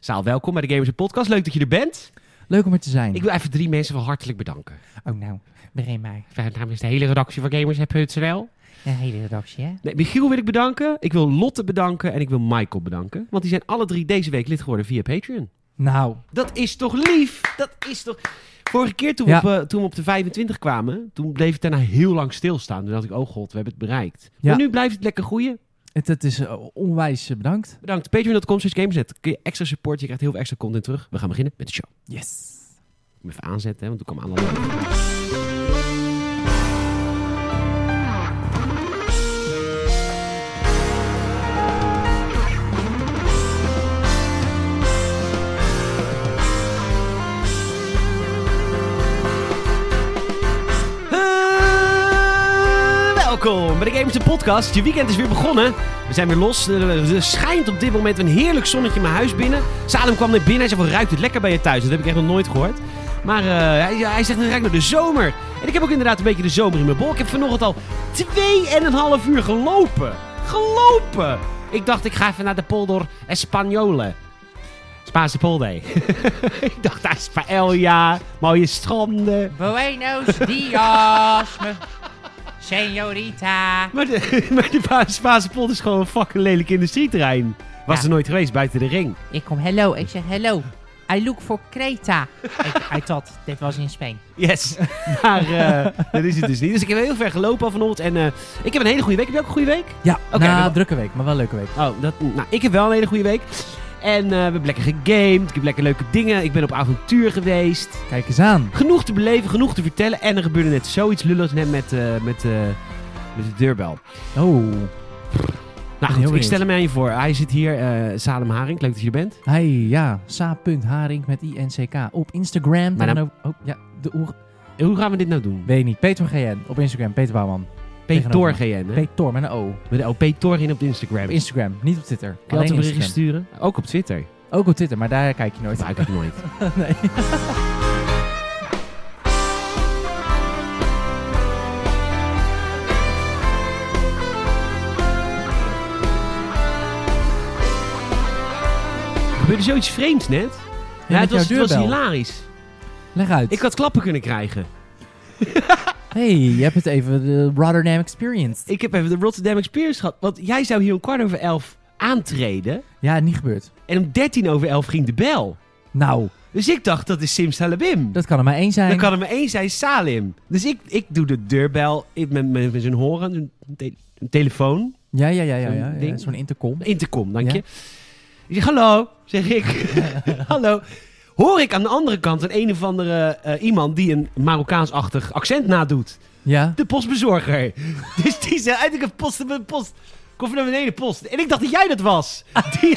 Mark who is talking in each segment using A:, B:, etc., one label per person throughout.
A: Zaal, welkom bij de Gamers Podcast. Leuk dat je er bent.
B: Leuk om er te zijn.
A: Ik wil even drie mensen wel hartelijk bedanken.
B: Oh nou, begin mij.
A: Enfin, Namens de hele redactie van Gamers.nl.
B: Een hele redactie, hè?
A: Nee, Michiel wil ik bedanken. Ik wil Lotte bedanken. En ik wil Michael bedanken. Want die zijn alle drie deze week lid geworden via Patreon.
B: Nou,
A: Dat is toch lief? Dat is toch... Vorige keer toen,
B: Ja.
A: we op, eh, toen we op de 25 kwamen, toen bleef het daarna heel lang stilstaan. Toen dacht ik, oh god, we hebben het bereikt.
B: Ja.
A: Maar nu blijft het lekker groeien.
B: het, het is eh, onwijs eh, bedankt.
A: Bedankt. Patreon.com slash Gamerset. Kun je extra support, je krijgt heel veel extra content terug. We gaan beginnen met de show.
B: Yes.
A: Ik moet even aanzetten, hè, want toen kwam aan. Eh, Welkom bij de Gamers de Podcast. Je weekend is weer begonnen. We zijn weer los. Eh, Er schijnt op dit moment een heerlijk zonnetje mijn huis binnen. Salem kwam net binnen. Hij zei: "Wat Ruikt het lekker bij je thuis? Dat heb ik echt nog nooit gehoord. Maar eh, hij, hij zegt: Het ruikt naar de zomer. En ik heb ook inderdaad een beetje de zomer in mijn bol. Ik heb vanochtend al 2,5 uur gelopen. Gelopen! Ik dacht: Ik ga even naar de polder Espanjole. Spaanse polder. ik dacht: daar is Paella, mooie stranden.
B: Buenos dias, señorita.
A: Maar de, maar de Ba- Spaanse polder is gewoon een fucking lelijk industrieterrein. Was
B: Ja.
A: er nooit geweest, buiten de ring.
B: Ik kom hello, ik zeg hello. I look for Creta. ik, I thought, dit was in Spanje.
A: Yes. maar eh, dat is het dus niet. Dus ik heb heel ver gelopen al vanochtend. En eh, ik heb een hele goede week. Heb je ook een goede week?
B: Ja,
A: Oké,
B: nou,
A: dan-
B: drukke week, maar wel een leuke week.
A: Oh, dat, nou, ik heb wel een hele goede week. En eh, we hebben lekker gegamed. Ik heb lekker leuke dingen. Ik ben op avontuur geweest.
B: Kijk eens aan.
A: Genoeg te beleven, genoeg te vertellen. En er gebeurde net zoiets lulligs net met, eh, met, eh, met de deurbel.
B: Oh,
A: Nou
B: heel
A: goed, ik
B: benieuwd.
A: stel hem aan je voor. Hij zit hier, eh, Salem Haring. Leuk dat je er bent.
B: hey, ja, sa.haring met INCK op Instagram.
A: Maar
B: En
A: dan-
B: ook- oh, ja, de oer...
A: En hoe gaan we dit nou doen?
B: Weet je niet, Peter GN op Instagram, Peter Bouwman.
A: Peter Thor GN, hè?
B: Peter Tor met een O.
A: Met de OP Torin op
B: Op
A: Instagram.
B: Instagram, niet op Twitter.
A: Kun je altijd
B: Alleen
A: berichten
B: Instagram.
A: sturen? Ook op Twitter.
B: Ook op Twitter, maar daar kijk je nooit.
A: Maar ik heb nooit.
B: Nee.
A: Er gebeurde zoiets vreemds net. Ja,
B: met
A: het, was,
B: jouw
A: het was
B: deurbel.
A: hilarisch.
B: Leg uit.
A: Ik had klappen kunnen krijgen.
B: Hey, je hebt het even de Rotterdam Experience.
A: Ik heb even de Rotterdam Experience gehad. Want jij zou hier om kwart over elf aantreden.
B: Ja, niet gebeurd.
A: En om dertien over elf ging de bel.
B: Nou,
A: Dus ik dacht, dat is Sim Salabim.
B: dat kan er maar één zijn.
A: Dan kan er maar één zijn, Salim. Dus ik, ik doe de deurbel ik, met, met, met zo'n horen, zo'n te- een telefoon.
B: Ja, ja, ja, ja.
A: Zo'n
B: ja, ja,
A: ding.
B: Zo'n intercom.
A: Intercom, dank
B: Ja.
A: je. Ik zeg, hallo, zeg ik. hallo. Hoor ik aan de andere kant een een of andere eh, iemand die een Marokkaans-achtig accent nadoet.
B: Ja.
A: De postbezorger. dus die zei, uit, ik heb post, ik heb post. Kom even naar beneden, post. En ik dacht dat jij dat was. Die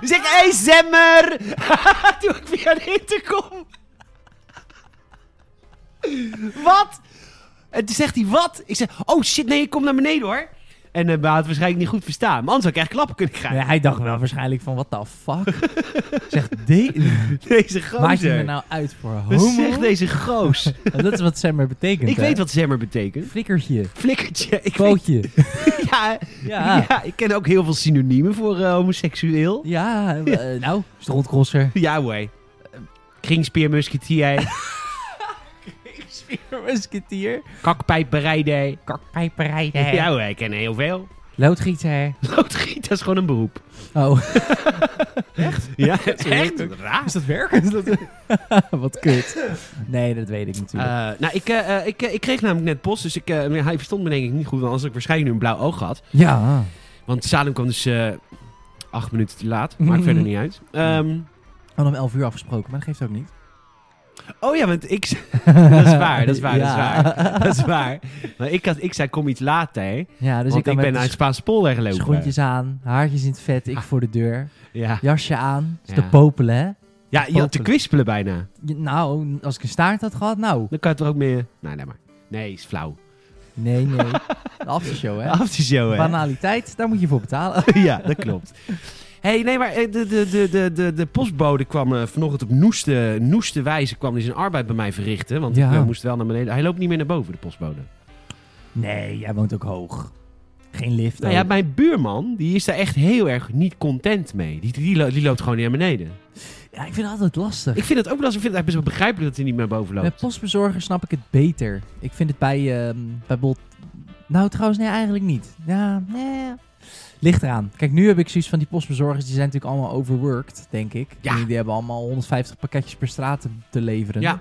A: zeg, hé, hey, Zemmer. Toen ik via de intercom. wat? En toen zegt hij, wat? Ik zeg, oh shit, nee, ik kom naar beneden hoor. En eh we hadden het waarschijnlijk niet goed verstaan. Maar anders had ik echt klappen kunnen krijgen.
B: Nee, hij dacht wel waarschijnlijk van, what the fuck? Zegt de...
A: Deze
B: Maak je er
A: gozer.
B: nou uit voor
A: Wat
B: homo?
A: zegt deze goos?
B: Dat is wat Semmer betekent,
A: ik
B: hè?
A: weet wat Zemmer betekent.
B: Flikkertje.
A: Flikkertje. Ik weet,
B: Pootje.
A: ja,
B: Ja.
A: ja. ik ken ook heel veel synoniemen voor eh, homoseksueel. Eh,
B: Ja, eh, nou, strondkrosser.
A: Ja, hoor. Kringspeermusketier,
B: Speermusketier.
A: kakpijpbereider.
B: Kakpijperijden.
A: Ja, hoor, ik ken heel veel.
B: Loodgieter.
A: Loodgiet, dat is gewoon een beroep.
B: Oh,
A: Ja,
B: echt?
A: echt raar.
B: is dat werkend? wat kut. Nee, dat weet ik natuurlijk.
A: Eh, nou, ik, eh, eh, ik, eh, ik kreeg namelijk net post, dus ik, eh, maar hij verstond me denk ik niet goed, want anders had ik waarschijnlijk nu een blauw oog gehad.
B: ja.
A: Want Salem kwam dus eh, acht minuten te laat, maakt verder niet uit. Ehm,
B: We hadden om 11 uur afgesproken, maar dat geeft ook niet.
A: Oh ja, want ik. dat is waar, dat is waar, dat is
B: Ja.
A: waar. Dat is waar. Maar ik, had, ik zei, kom iets later.
B: Ja, dus
A: want
B: ik,
A: ik
B: kan
A: ben
B: met
A: naar
B: de
A: het Spaanse polder gelopen.
B: schoentjes aan, haartjes in het vet, ik voor de deur.
A: Ja.
B: Jasje aan, is te
A: Ah. Ja.
B: popelen, hè?
A: ja, je had te kwispelen bijna.
B: Je- Nou, als ik een staart had gehad, nou.
A: Dan kan het er ook meer. Nee, nee maar. Nee, is flauw.
B: Nee, nee. De aftershow, hè?
A: Aftershow, Oh, hè?
B: Banaliteit, daar moet je voor betalen.
A: ja, dat klopt. hey, nee, maar eh, de, de, de, de, de, de postbode kwam eh, vanochtend op noeste, noeste wijze kwam hij zijn arbeid bij mij verrichten. Want
B: Ja.
A: ik eh, moest wel naar beneden. Hij loopt niet meer naar boven, de postbode.
B: Nee, jij woont ook hoog.
C: Geen lift.
A: Nou ja,
C: ook.
A: mijn buurman, die is daar echt heel erg niet content mee. Die, die, lo- die loopt gewoon niet naar beneden.
B: Ja, ik vind het altijd lastig.
A: Ik vind het ook wel eens, ik vind het eigenlijk best wel begrijpelijk dat hij niet meer boven loopt.
B: Met postbezorger snap ik het beter. Ik vind het bij, ehm bij Bolt... Nou, trouwens, nee, eigenlijk niet. Ja, nee. Ligt eraan. Kijk, nu heb ik zoiets van die postbezorgers, die zijn natuurlijk allemaal overworked, denk ik.
A: Ja.
B: Die, die hebben allemaal 150 pakketjes per straat te, te leveren.
A: Ja.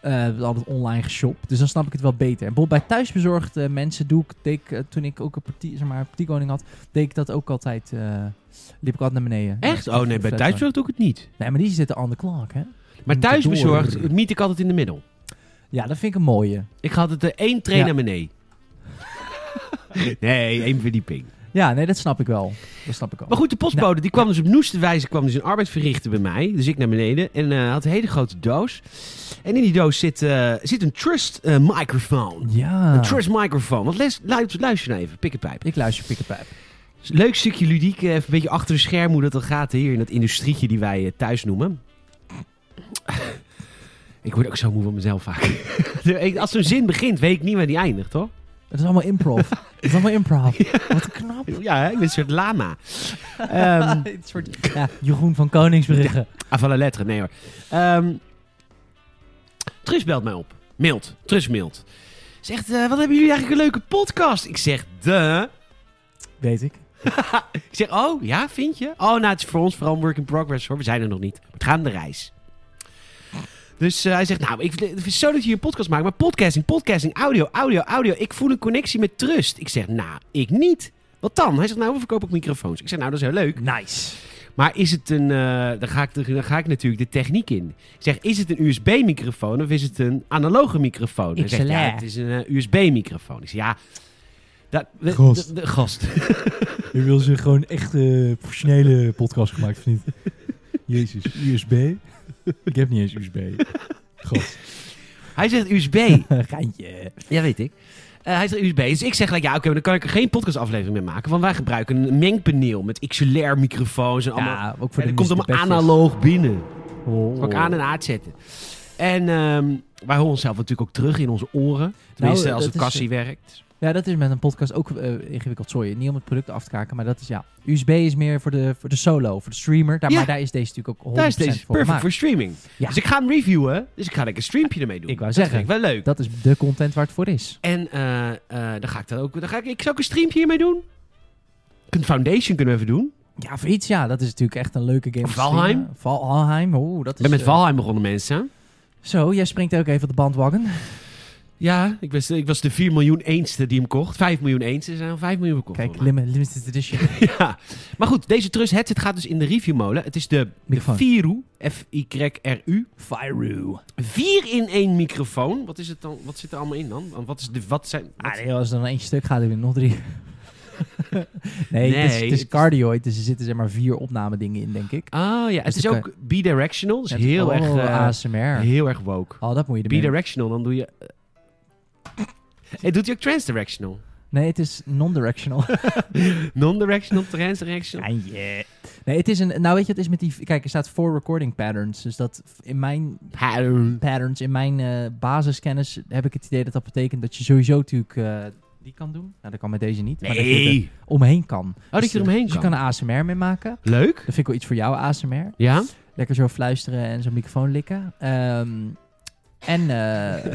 B: Eh, altijd online geshopt. Dus dan snap ik het wel beter. En bijvoorbeeld bij thuisbezorgde mensen doe ik, deed ik eh, toen ik ook een partij, zeg maar, een partijkoning had, deed ik dat ook altijd. eh, liep ik altijd naar beneden.
A: Echt?
B: Ja,
A: Oh nee, bij
B: flat-
A: Duitsland doe ik het niet.
B: Nee, maar die zitten aan de clock, hè?
A: Maar
B: Moeten
A: thuisbezorgd
B: door.
A: meet ik altijd in de middel.
B: Ja, dat vind ik een mooie.
A: Ik had het eh, één train
B: Ja.
A: naar beneden. nee, één verdieping.
B: Ja, nee, dat snap ik wel. Dat snap ik wel.
A: Maar goed, de postbode die kwam dus op noeste wijze kwam dus een arbeid verrichten bij mij. Dus ik naar beneden en eh, had een hele grote doos. En in die doos zit, eh, zit een trust eh, microfoon.
B: Ja.
A: Een trust microfoon. Want les, luister, luister nou even, pik en pijp.
B: Ik luister Pick Pijp.
A: Leuk stukje ludiek, eh, even een beetje achter de schermen hoe dat dan gaat hier in dat industrietje die wij eh, thuis noemen. ik word ook zo moe van mezelf vaak. Ik- Als zo'n zin begint, weet ik niet waar die eindigt, hoor.
B: Het is allemaal improv. Het is allemaal improv. Wat knap.
A: Ja, hè, ik ben een soort lama. Ehm
B: Dit soort... ja, Jeroen van Koningsbrugge.
A: ah, van la lettre, nee hoor. Ehm Trus belt mij op. Mailt. Trus mailt. Zegt, eh, wat hebben jullie eigenlijk een leuke podcast? Ik zeg, de...
B: Weet ik.
A: Ik zeg, oh ja, vind je? Oh, nou, het is voor ons vooral een work in progress hoor. We zijn er nog niet. We gaan de reis. Dus eh, hij zegt, nou, ik vind het zo dat je hier een podcast maakt. Maar podcasting, podcasting, audio, audio, audio. Ik voel een connectie met trust. Ik zeg, nou, ik niet. Wat dan? Hij zegt, nou, we verkopen ook microfoons. Ik zeg, nou, dat is heel leuk.
B: Nice.
A: Maar is het een... eh dan, ga ik, de- dan ga ik natuurlijk de techniek in. Ik zeg, is het een USB-microfoon of is het een analoge microfoon? Hij zegt, ja,
C: XLR.
A: het is een eh, USB-microfoon. Ik zeg, ja... Dat, we-
B: Gast.
A: de- de- gast.
B: Je wil ze gewoon echt eh, professionele podcast gemaakt, of niet? Jezus, USB? Ik heb niet eens USB. God.
A: Hij zegt USB.
B: Geintje.
A: Ja, weet ik. Eh, hij is USB. Dus ik zeg gelijk, ja, oké, maar dan kan ik er geen podcastaflevering mee maken. Want wij gebruiken een mengpaneel met XLR microfoons en allemaal.
B: Ja, ook voor
A: en
B: de Oh.
A: er komt allemaal analoog binnen. Kan ik aan en uitzetten. En ehm, wij horen onszelf natuurlijk ook terug in onze oren. Tenminste, als
B: Nou, dat
A: de
B: is-
A: kassie werkt.
B: Ja, dat is met een podcast ook eh, ingewikkeld. Sorry, niet om het product af te kaken, maar dat is ja. USB is meer voor de, voor de solo, voor de streamer. Daar,
A: Ja.
B: Maar daar is deze natuurlijk ook 100%
A: Daar is deze
B: voor
A: perfect
B: gemaakt.
A: voor streaming.
B: Ja.
A: Dus ik ga hem reviewen. Dus ik ga lekker een streampje ermee doen.
B: Ik wou
A: Dat
B: zeggen.
A: vind ik wel leuk.
B: Dat is de content waar het voor is.
A: En eh, eh, dan ga ik dat ook... Dan ga ik, ik zou ook een streampje hiermee doen. Een foundation kunnen we even doen.
B: Ja, of iets, ja. Dat is natuurlijk echt een leuke game.
A: Of
B: te streamen.
A: Valheim.
B: Valheim, oeh, dat
A: Ik
B: is...
A: ben met
B: eh,
A: Valheim begonnen, mensen.
B: Zo, jij springt ook even op de bandwagon.
A: Ja, ik was, ik was de 4 miljoen eenste die hem kocht. 5 miljoen eens, er zijn al 5 miljoen verkocht.
B: Kijk,
A: volgens
B: lim limited edition.
A: mij. ja. Maar goed, deze Trust Headset gaat dus in de reviewmolen. Het is de, de
B: Microfoon.
A: Viru, F-Y-R-U.
B: Firu.
A: 4 in 1 microfoon. Wat, is het dan, wat zit er allemaal in dan? Want Wat, is de, wat zijn... wat-
B: Ah, nee, als er dan eentje stuk gaat, heb je er nog drie. nee, het is,
A: Nee,
B: het
A: het
B: is
A: is-
B: cardioid, dus er zitten zeg maar vier opnamedingen in, denk ik.
A: Ah ja, het
B: Dus
A: is
B: dan kan
A: ook bidirectional. Dus
B: Het-
A: heel,
B: oh,
A: erg, eh,
B: ASMR.
A: heel erg woke.
B: Oh, dat moet je ermee.
A: Bidirectional, dan doe je... eh. Hey, doet hij ook transdirectional?
B: Nee, het is non-directional.
A: Non-directional, transdirectional?
B: Ja, yeah. Nee, het is een. Nou, weet je, het is met die. Kijk, er staat voor recording patterns. Dus dat in mijn
A: Pattern.
B: patterns, in mijn eh, basiskennis heb ik het idee dat dat betekent dat je sowieso natuurlijk eh, die kan doen. Nou, dat kan met deze niet. Maar dat je
A: Nee.
B: er omheen kan. Oh,
A: dat je er omheen
B: Dus je
A: kan.
B: kan er ASMR mee maken.
A: Leuk.
B: Dat vind ik wel iets voor jou, ASMR.
A: Ja?
B: Lekker zo fluisteren en zo'n microfoon likken. Ehm, en eh,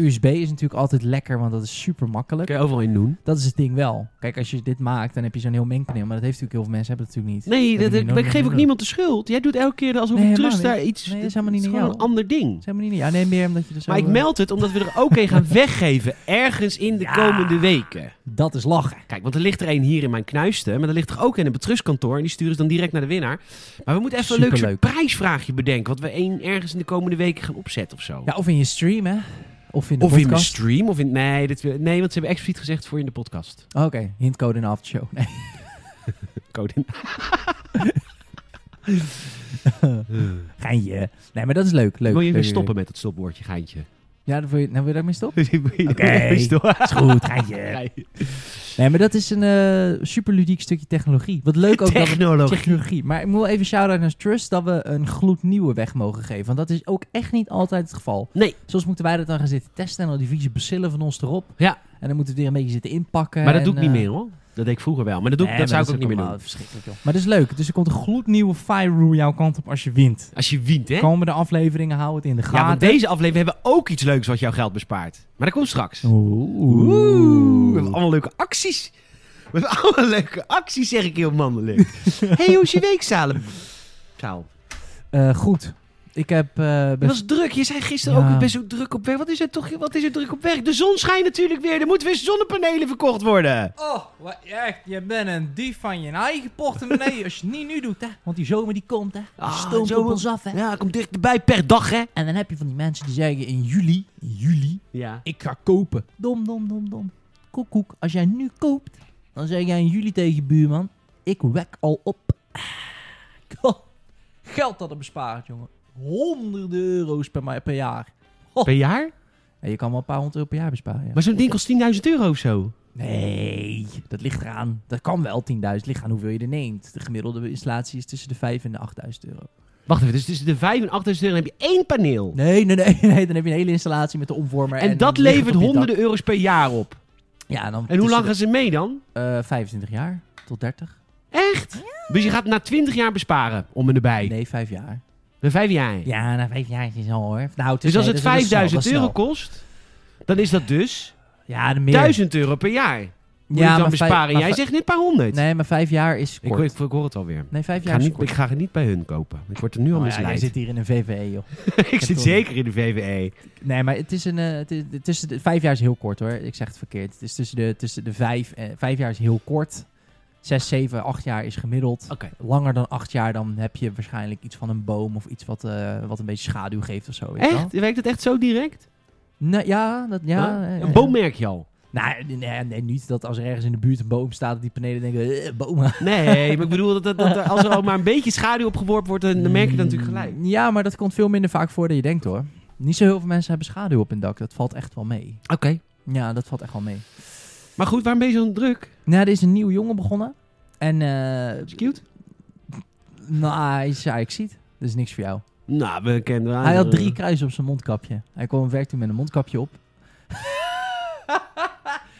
B: USB is natuurlijk altijd lekker, want dat is super makkelijk.
A: Kun je overal in doen.
B: Dat is het ding wel. Kijk, als je dit maakt, dan heb je zo'n heel mengpaneel. Maar dat heeft natuurlijk heel veel mensen hebben dat natuurlijk niet.
A: Nee,
B: Dat
A: dat,
B: heb je
A: ik,
B: nodig,
A: ik geef ook
B: nodig.
A: niemand de schuld. Jij doet elke keer alsof
B: Nee,
A: ik
B: helemaal
A: trust
B: niet.
A: daar iets...
B: Nee, dat is helemaal niet
A: het
B: aan
A: gewoon
B: jou.
A: een ander ding.
B: Zijn we niet? Ja, nee, meer omdat je er zo...
A: Maar ik
B: eh,
A: meld het omdat we er ook een gaan weggeven. Ergens in de
B: Ja.
A: komende weken.
B: Dat is lachen.
A: Kijk, want er ligt er een hier in mijn knuisten. Maar er ligt er ook een in het betrustkantoor. En die sturen ze dan direct naar de winnaar. Maar we moeten even een leuk soort
B: Superleuk.
A: prijsvraagje bedenken. Wat we één ergens in de komende weken gaan opzetten of zo.
B: Ja, of in je stream, hè? Of in de
A: of in mijn
B: podcast.
A: stream. Of in, nee, dit, wil- nee, want ze hebben expliciet gezegd voor in de podcast.
B: Oh, Oké, hintcode in de aftershow. Nee.
A: Code in.
B: Geintje. Nee, maar dat is leuk. leuk
A: Wil je
B: leuk,
A: weer
B: leuk,
A: stoppen met dat stopwoordje, geintje?
B: nou, leuk. Ja, dan wil je, dan wil je daarmee stoppen?
A: Wil je
B: Oké.
A: daarmee stoppen?
B: is goed, geintje. Nee, maar dat is een eh, superludiek stukje technologie. Wat leuk ook dat we
A: Technologie.
B: Technologie. Maar ik moet wel even shout-out naar Trust dat we een gloednieuwe weg mogen geven. Want dat is ook echt niet altijd het geval.
A: Nee.
B: Soms moeten wij dat dan gaan zitten testen en al die vieze bacillen van ons erop.
A: Ja.
B: En dan moeten we weer een beetje zitten inpakken.
A: Maar dat
B: en,
A: doe ik niet
B: eh,
A: meer hoor. Dat deed ik vroeger wel. Maar dat, doe ik,
B: nee,
A: dat
B: maar
A: zou ik ook niet meer doen.
B: allemaal Verschrikkelijk, joh. Maar dat is leuk. Dus er komt een gloednieuwe Fyru jouw kant op als je wint.
A: Als je wint, hè?
B: Komende afleveringen hou het in de
A: Ja, want
B: gaten.
A: deze aflevering hebben we ook iets leuks wat jouw geld bespaart. Maar dat komt straks.
B: Oeh.
A: Oeh, we hebben allemaal leuke acties. We hebben allemaal leuke acties, zeg ik heel mannelijk. hey, hoe is je week, Salem? Salem.
B: Eh, goed. Ik heb... eh,
A: Het
B: best-
A: was druk. Je zei gisteren
B: Ja.
A: ook, ik ben zo druk op werk. Wat is er toch wat is er druk op werk? De zon schijnt natuurlijk weer. Er moeten weer zonnepanelen verkocht worden.
B: Oh, wat echt. Je bent een dief van je eigen portemonnee als je het niet nu doet, hè. Want die zomer die komt, hè. Die
A: Ah,
B: stoomt op
A: zomer.
B: ons af, hè.
A: Ja, komt dichterbij per dag, hè?
B: En dan heb je van die mensen die zeggen in juli, in juli,
A: Ja.
B: ik ga kopen. Dom, dom, dom, dom. Koek, koek. Als jij nu koopt, dan zeg jij in juli tegen je buurman, ik wek al op. Goh, Geld dat er bespaart, jongen. Honderden euro's per, ma- per jaar.
A: Per jaar?
B: En je kan wel een paar honderd euro per jaar besparen, ja.
A: Maar zo'n ding kost 10.000 euro of zo.
B: Nee, dat ligt eraan. Dat kan wel 10.000. Ligt aan hoeveel je er neemt. De gemiddelde installatie is tussen de 5 en de 8.000 euro.
A: Wacht even, dus tussen de 5 en 8.000 euro heb je één paneel.
B: Nee, nee, nee, nee. Dan heb je een hele installatie met de omvormer.
A: En, dat
B: dan ligt het
A: levert
B: op je dak.
A: honderden euro's per jaar op.
B: Ja, dan
A: En hoe lang
B: tussen
A: gaan ze mee dan?
B: de- eh, 25 jaar tot 30.
A: Echt? Dus je gaat na 20 jaar besparen, om en erbij.
B: Nee, 5 jaar.
A: Na 5 jaar.
C: Ja, na vijf jaar is het al hoor.
B: Nou,
A: Dus als het
B: nee, dat is wel snel,
A: 5000
B: dat is
A: euro
B: snel.
A: kost, dan is dat dus
B: Ja, de meer.
A: 1000 euro per jaar. Moet je
B: Ja,
A: dan
B: maar vijf-
A: besparen?
B: maar
A: Jij
B: vijf-
A: zegt net een paar honderd.
B: Nee, maar 5 jaar is
A: ik,
B: kort.
A: ik, ik hoor het alweer.
B: Nee, 5
A: Ik ga,
B: jaar is
A: niet,
B: kort.
A: ik ga niet bij hun kopen. Ik word er nu al
B: Oh ja, jij
A: misleid.
B: zit hier in een VVE, joh.
A: ik zit
B: toch-
A: zeker in de E. VWE.
B: Nee, maar het is een. eh, het is, het is- de, vijf jaar is heel kort hoor. Ik zeg het verkeerd. Het is tussen de, tussen de vijf. Eh, vijf jaar is heel kort. Zes, zeven, acht jaar is gemiddeld.
A: Oké.
B: Langer dan acht jaar, dan heb je waarschijnlijk iets van een boom of iets wat, eh, wat een beetje schaduw geeft of zo. Weet je wel?
A: Echt? Werkt het echt zo direct?
B: Nou, ja, dat, ja,
A: Huh?
B: eh,
A: Een boom merk je al.
B: Nou, nee, nee, niet dat als er ergens in de buurt een boom staat, dat die beneden denken: eh, bomen.
A: Nee, maar ik bedoel, dat, dat, dat er- als er al maar een beetje schaduw opgeworpen wordt, dan dan merk je dat natuurlijk gelijk.
B: Mm, Ja, maar dat komt veel minder vaak voor dan je denkt hoor. Niet zo heel veel mensen hebben schaduw op hun dak. Dat valt echt wel mee.
A: Oké.
B: Ja, dat valt echt wel mee.
A: Maar goed, waarom ben je zo druk?
B: Nou, er is een nieuwe jongen begonnen. En eh,
A: Is cute?
B: Nou, hij is eigenlijk ziet. Dat is niks voor jou.
A: Nou, we kennen
B: hij had drie kruisen op zijn mondkapje. Hij kwam werk toen met een mondkapje op.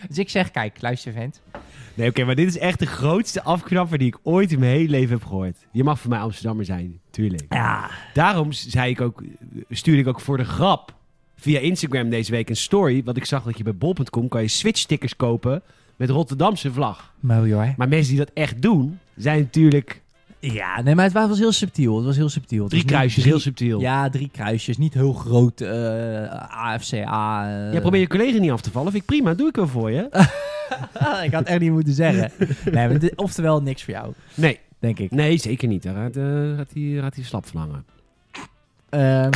C: Dus ik zeg, kijk, luister vent.
A: Nee, oké, maar dit is echt de grootste afknapper die ik ooit in mijn hele leven heb gehoord. Je mag voor mij Amsterdammer zijn, tuurlijk.
B: Ja.
A: Daarom zei ik ook, stuurde ik ook voor de grap via Instagram deze week een story. Want ik zag dat je bij bol.com kan je switchstickers kopen met Rotterdamse vlag.
B: Mooi hoor.
A: Maar mensen die dat echt doen, zijn natuurlijk
B: Ja, nee, maar het was heel subtiel. Het was heel subtiel. Het
A: drie
B: was niet
A: kruisjes,
B: drie-
A: heel subtiel.
B: Ja, drie kruisjes. Niet heel groot eh, AFCA. eh.
A: Jij probeert je collega niet af te vallen. Vind ik prima, doe ik wel voor je.
B: ik had echt niet moeten zeggen. nee, maar dit- oftewel niks voor jou,
A: Nee,
B: denk ik.
A: nee zeker niet. Daar gaat, eh, gaat hij gaat hij slap verlangen.
B: Ehm,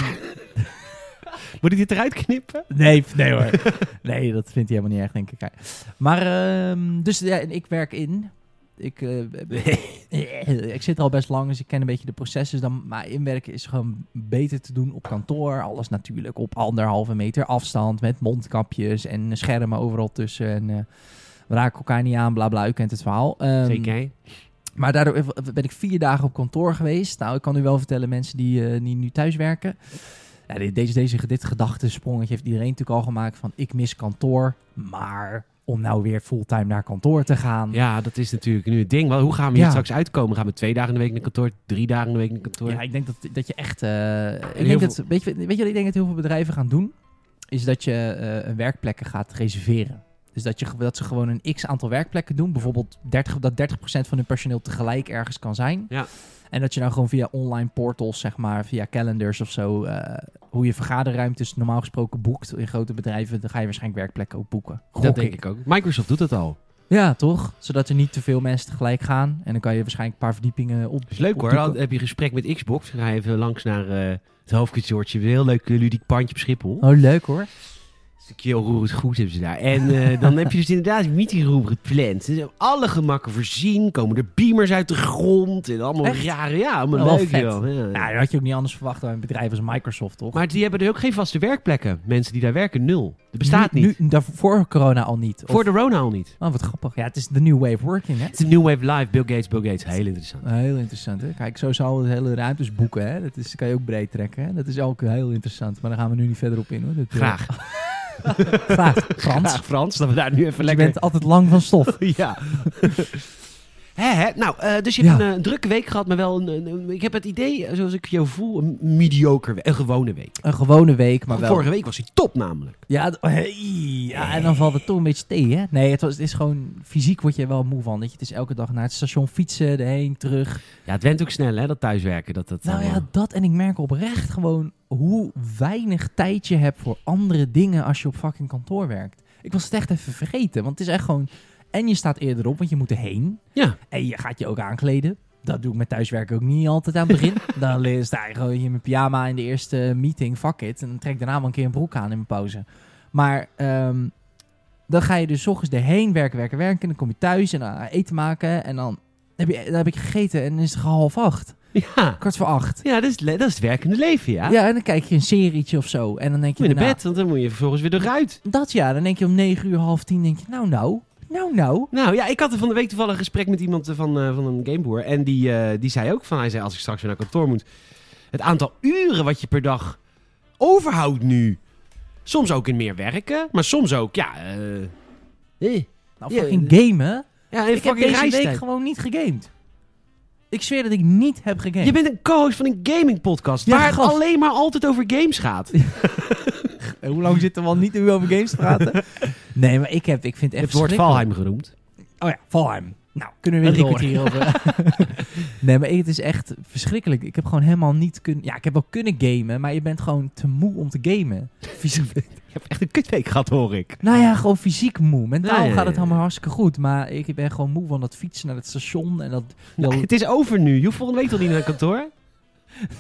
A: Moet ik dit eruit knippen?
B: Nee, f- nee hoor. Nee, dat vindt hij helemaal niet erg, denk ik. Maar, ehm, dus ja, en ik werk in. Ik, eh, ik zit er al best lang, dus ik ken een beetje de processen. Dan, maar inwerken is gewoon beter te doen op kantoor. Alles natuurlijk op anderhalve meter afstand. Met mondkapjes en schermen overal tussen. En, eh, we raken elkaar niet aan, bla bla. U kent het verhaal. Ehm,
A: Zeker. hè?
B: maar daardoor ben ik vier dagen op kantoor geweest. Nou, ik kan u wel vertellen, mensen die, eh, die nu thuis werken. Ja, dit- deze, deze, dit gedachtesprongetje heeft iedereen natuurlijk al gemaakt van ik mis kantoor. Maar om nou weer fulltime naar kantoor te gaan.
A: Ja, dat is natuurlijk nu het ding. Wel, hoe gaan we hier
B: Ja.
A: straks uitkomen? Gaan we twee dagen in de week naar kantoor, drie dagen in de week naar kantoor?
B: Ja, ik denk dat, dat je echt. eh, ik
A: heel
B: denk dat, weet, je, weet je wat ik denk dat heel veel bedrijven gaan doen? Is dat je eh, een werkplekken gaat reserveren. Dus dat, je, ge- dat ze gewoon een x aantal werkplekken doen. Bijvoorbeeld 30, dat 30% van hun personeel tegelijk ergens kan zijn.
A: Ja.
B: En dat je nou gewoon via online portals, zeg maar, via calendars of zo, eh, hoe je vergaderruimtes normaal gesproken boekt in grote bedrijven, dan ga je waarschijnlijk werkplekken ook boeken.
A: dat denk ik ook. Microsoft doet dat al.
B: Ja, toch? Zodat er niet te veel mensen tegelijk gaan. En dan kan je waarschijnlijk een paar verdiepingen op.
A: is leuk hoor.
B: opdoeken.
A: Dan heb je een gesprek met Xbox. Dan ga je even langs naar eh, het hoofdkantoortje. Een heel leuk eh, ludiek pandje op Schiphol.
B: Oh, leuk Oh, hoor.
A: stukje onroerend goed hebben ze daar. En eh, dan heb je dus inderdaad een meetingroom gepland. Ze hebben alle gemakken voorzien. Komen er beamers uit de grond. En allemaal
B: Echt?
A: rare... Ja, allemaal
B: Wel
A: leuk
B: vet.
A: joh. Oh, Ja.
B: Nou, dat had je ook niet anders verwacht dan een bedrijf als Microsoft, toch?
A: Maar die hebben er ook geen vaste werkplekken. Mensen die daar werken, nul. Dat bestaat
B: Nu-
A: niet.
B: Nu, daarvoor- voor corona al niet. Of-
A: Voor de Rona al niet.
B: Oh, wat grappig. Ja, het is de new way of working, hè?
A: Het is een new wave live. Bill Gates, Bill Gates. Heel interessant.
B: Heel interessant, hè? Kijk, zo zou het hele ruimtes boeken, hè? Dat is, kan je ook breed trekken, hè? Dat is ook heel interessant. Maar daar gaan we nu niet verder op in, hoor. Dat, eh,
A: Graag.
B: Graag, Frans.
A: Graag Frans, dat we daar nu even
B: Je
A: lekker...
B: bent altijd lang van stof.
A: ja. hè, hè? Nou, eh, dus je hebt
B: Ja.
A: een eh, drukke week gehad, maar wel een, een- een- Ik heb het idee, eh, zoals ik jou voel, een mediocre week. Een gewone week.
B: Een gewone week, maar wel...
A: Vorige week was hij top namelijk.
B: Ja, d- hey, ja, en dan valt het toch een beetje tegen, hè? Nee, het, was, het is gewoon... Fysiek word je er wel moe van, dat je het is elke dag naar het station fietsen, erheen, terug.
A: Ja, het went ook snel hè, dat thuiswerken. Dat, dat,
B: Nou
A: allemaal-
B: ja, dat en ik merk oprecht gewoon hoe weinig tijd je hebt voor andere dingen als je op fucking kantoor werkt. Ik was het echt even vergeten, want het is echt gewoon... En je staat eerder op, want je moet erheen.
A: ja.
B: En je gaat je ook aankleden. Dat doe ik met thuiswerken ook niet altijd aan het begin. dan eh, sta je gewoon in mijn pyjama in de eerste meeting, fuck it. En dan trek ik daarna wel een keer een broek aan in mijn pauze. Maar ehm, dan ga je dus 's ochtends erheen werken, werken, werken. En dan kom je thuis en dan ga je eten maken. En dan heb, je, dan heb ik gegeten en dan is het half acht.
A: Ja.
B: Kwart voor acht.
A: Ja, dat is, le- dat is het werkende leven, ja.
B: Ja, en dan kijk je een serietje of zo. En dan denk je
A: Moet je naar
B: daarna-
A: bed, want dan moet je vervolgens weer eruit.
B: Dat ja, dan denk je om negen uur, half tien, denk je nou nou, nou nou.
A: Nou ja, ik had er van de week toevallig een gesprek met iemand eh, van, eh, van een gameboer. En die, eh, die zei ook van, hij zei als ik straks weer naar kantoor moet. Het aantal uren wat je per dag overhoudt nu. Soms ook in meer werken, maar soms ook, ja... eh, eh.
B: Nou,
A: Ja,
B: fucking gamen.
A: Ja, en
B: Ik heb
A: fucking
B: deze week
A: reistijd.
B: gewoon niet gegamed. Ik zweer dat ik niet heb gegamed.
A: Je bent een co-host van een gaming podcast.
B: Ja,
A: waar het
B: gast.
A: alleen maar altijd over games gaat.
B: En Hoe lang zitten we al niet nu over games te praten? nee, maar ik, heb, ik vind het echt
A: het wordt
B: verschrikkelijk.
A: Valheim genoemd.
B: Oh ja, Valheim. Nou, kunnen we weer drie
A: Door.
B: kwartier over. nee, maar het is echt verschrikkelijk. Ik heb gewoon helemaal niet kunnen... Ja, ik heb wel kunnen gamen, maar je bent gewoon te moe om te gamen.
A: Je hebt echt een kutweek gehad, hoor ik.
B: Nou ja, gewoon fysiek moe. Mentaal
A: Ja, ja, ja,
B: gaat het
A: ja.
B: allemaal hartstikke goed. Maar ik ben gewoon moe van dat fietsen naar het station. En dat...
A: Nou,
B: dat-
A: het is over nu. Je hoeft volgende week toch niet naar kantoor?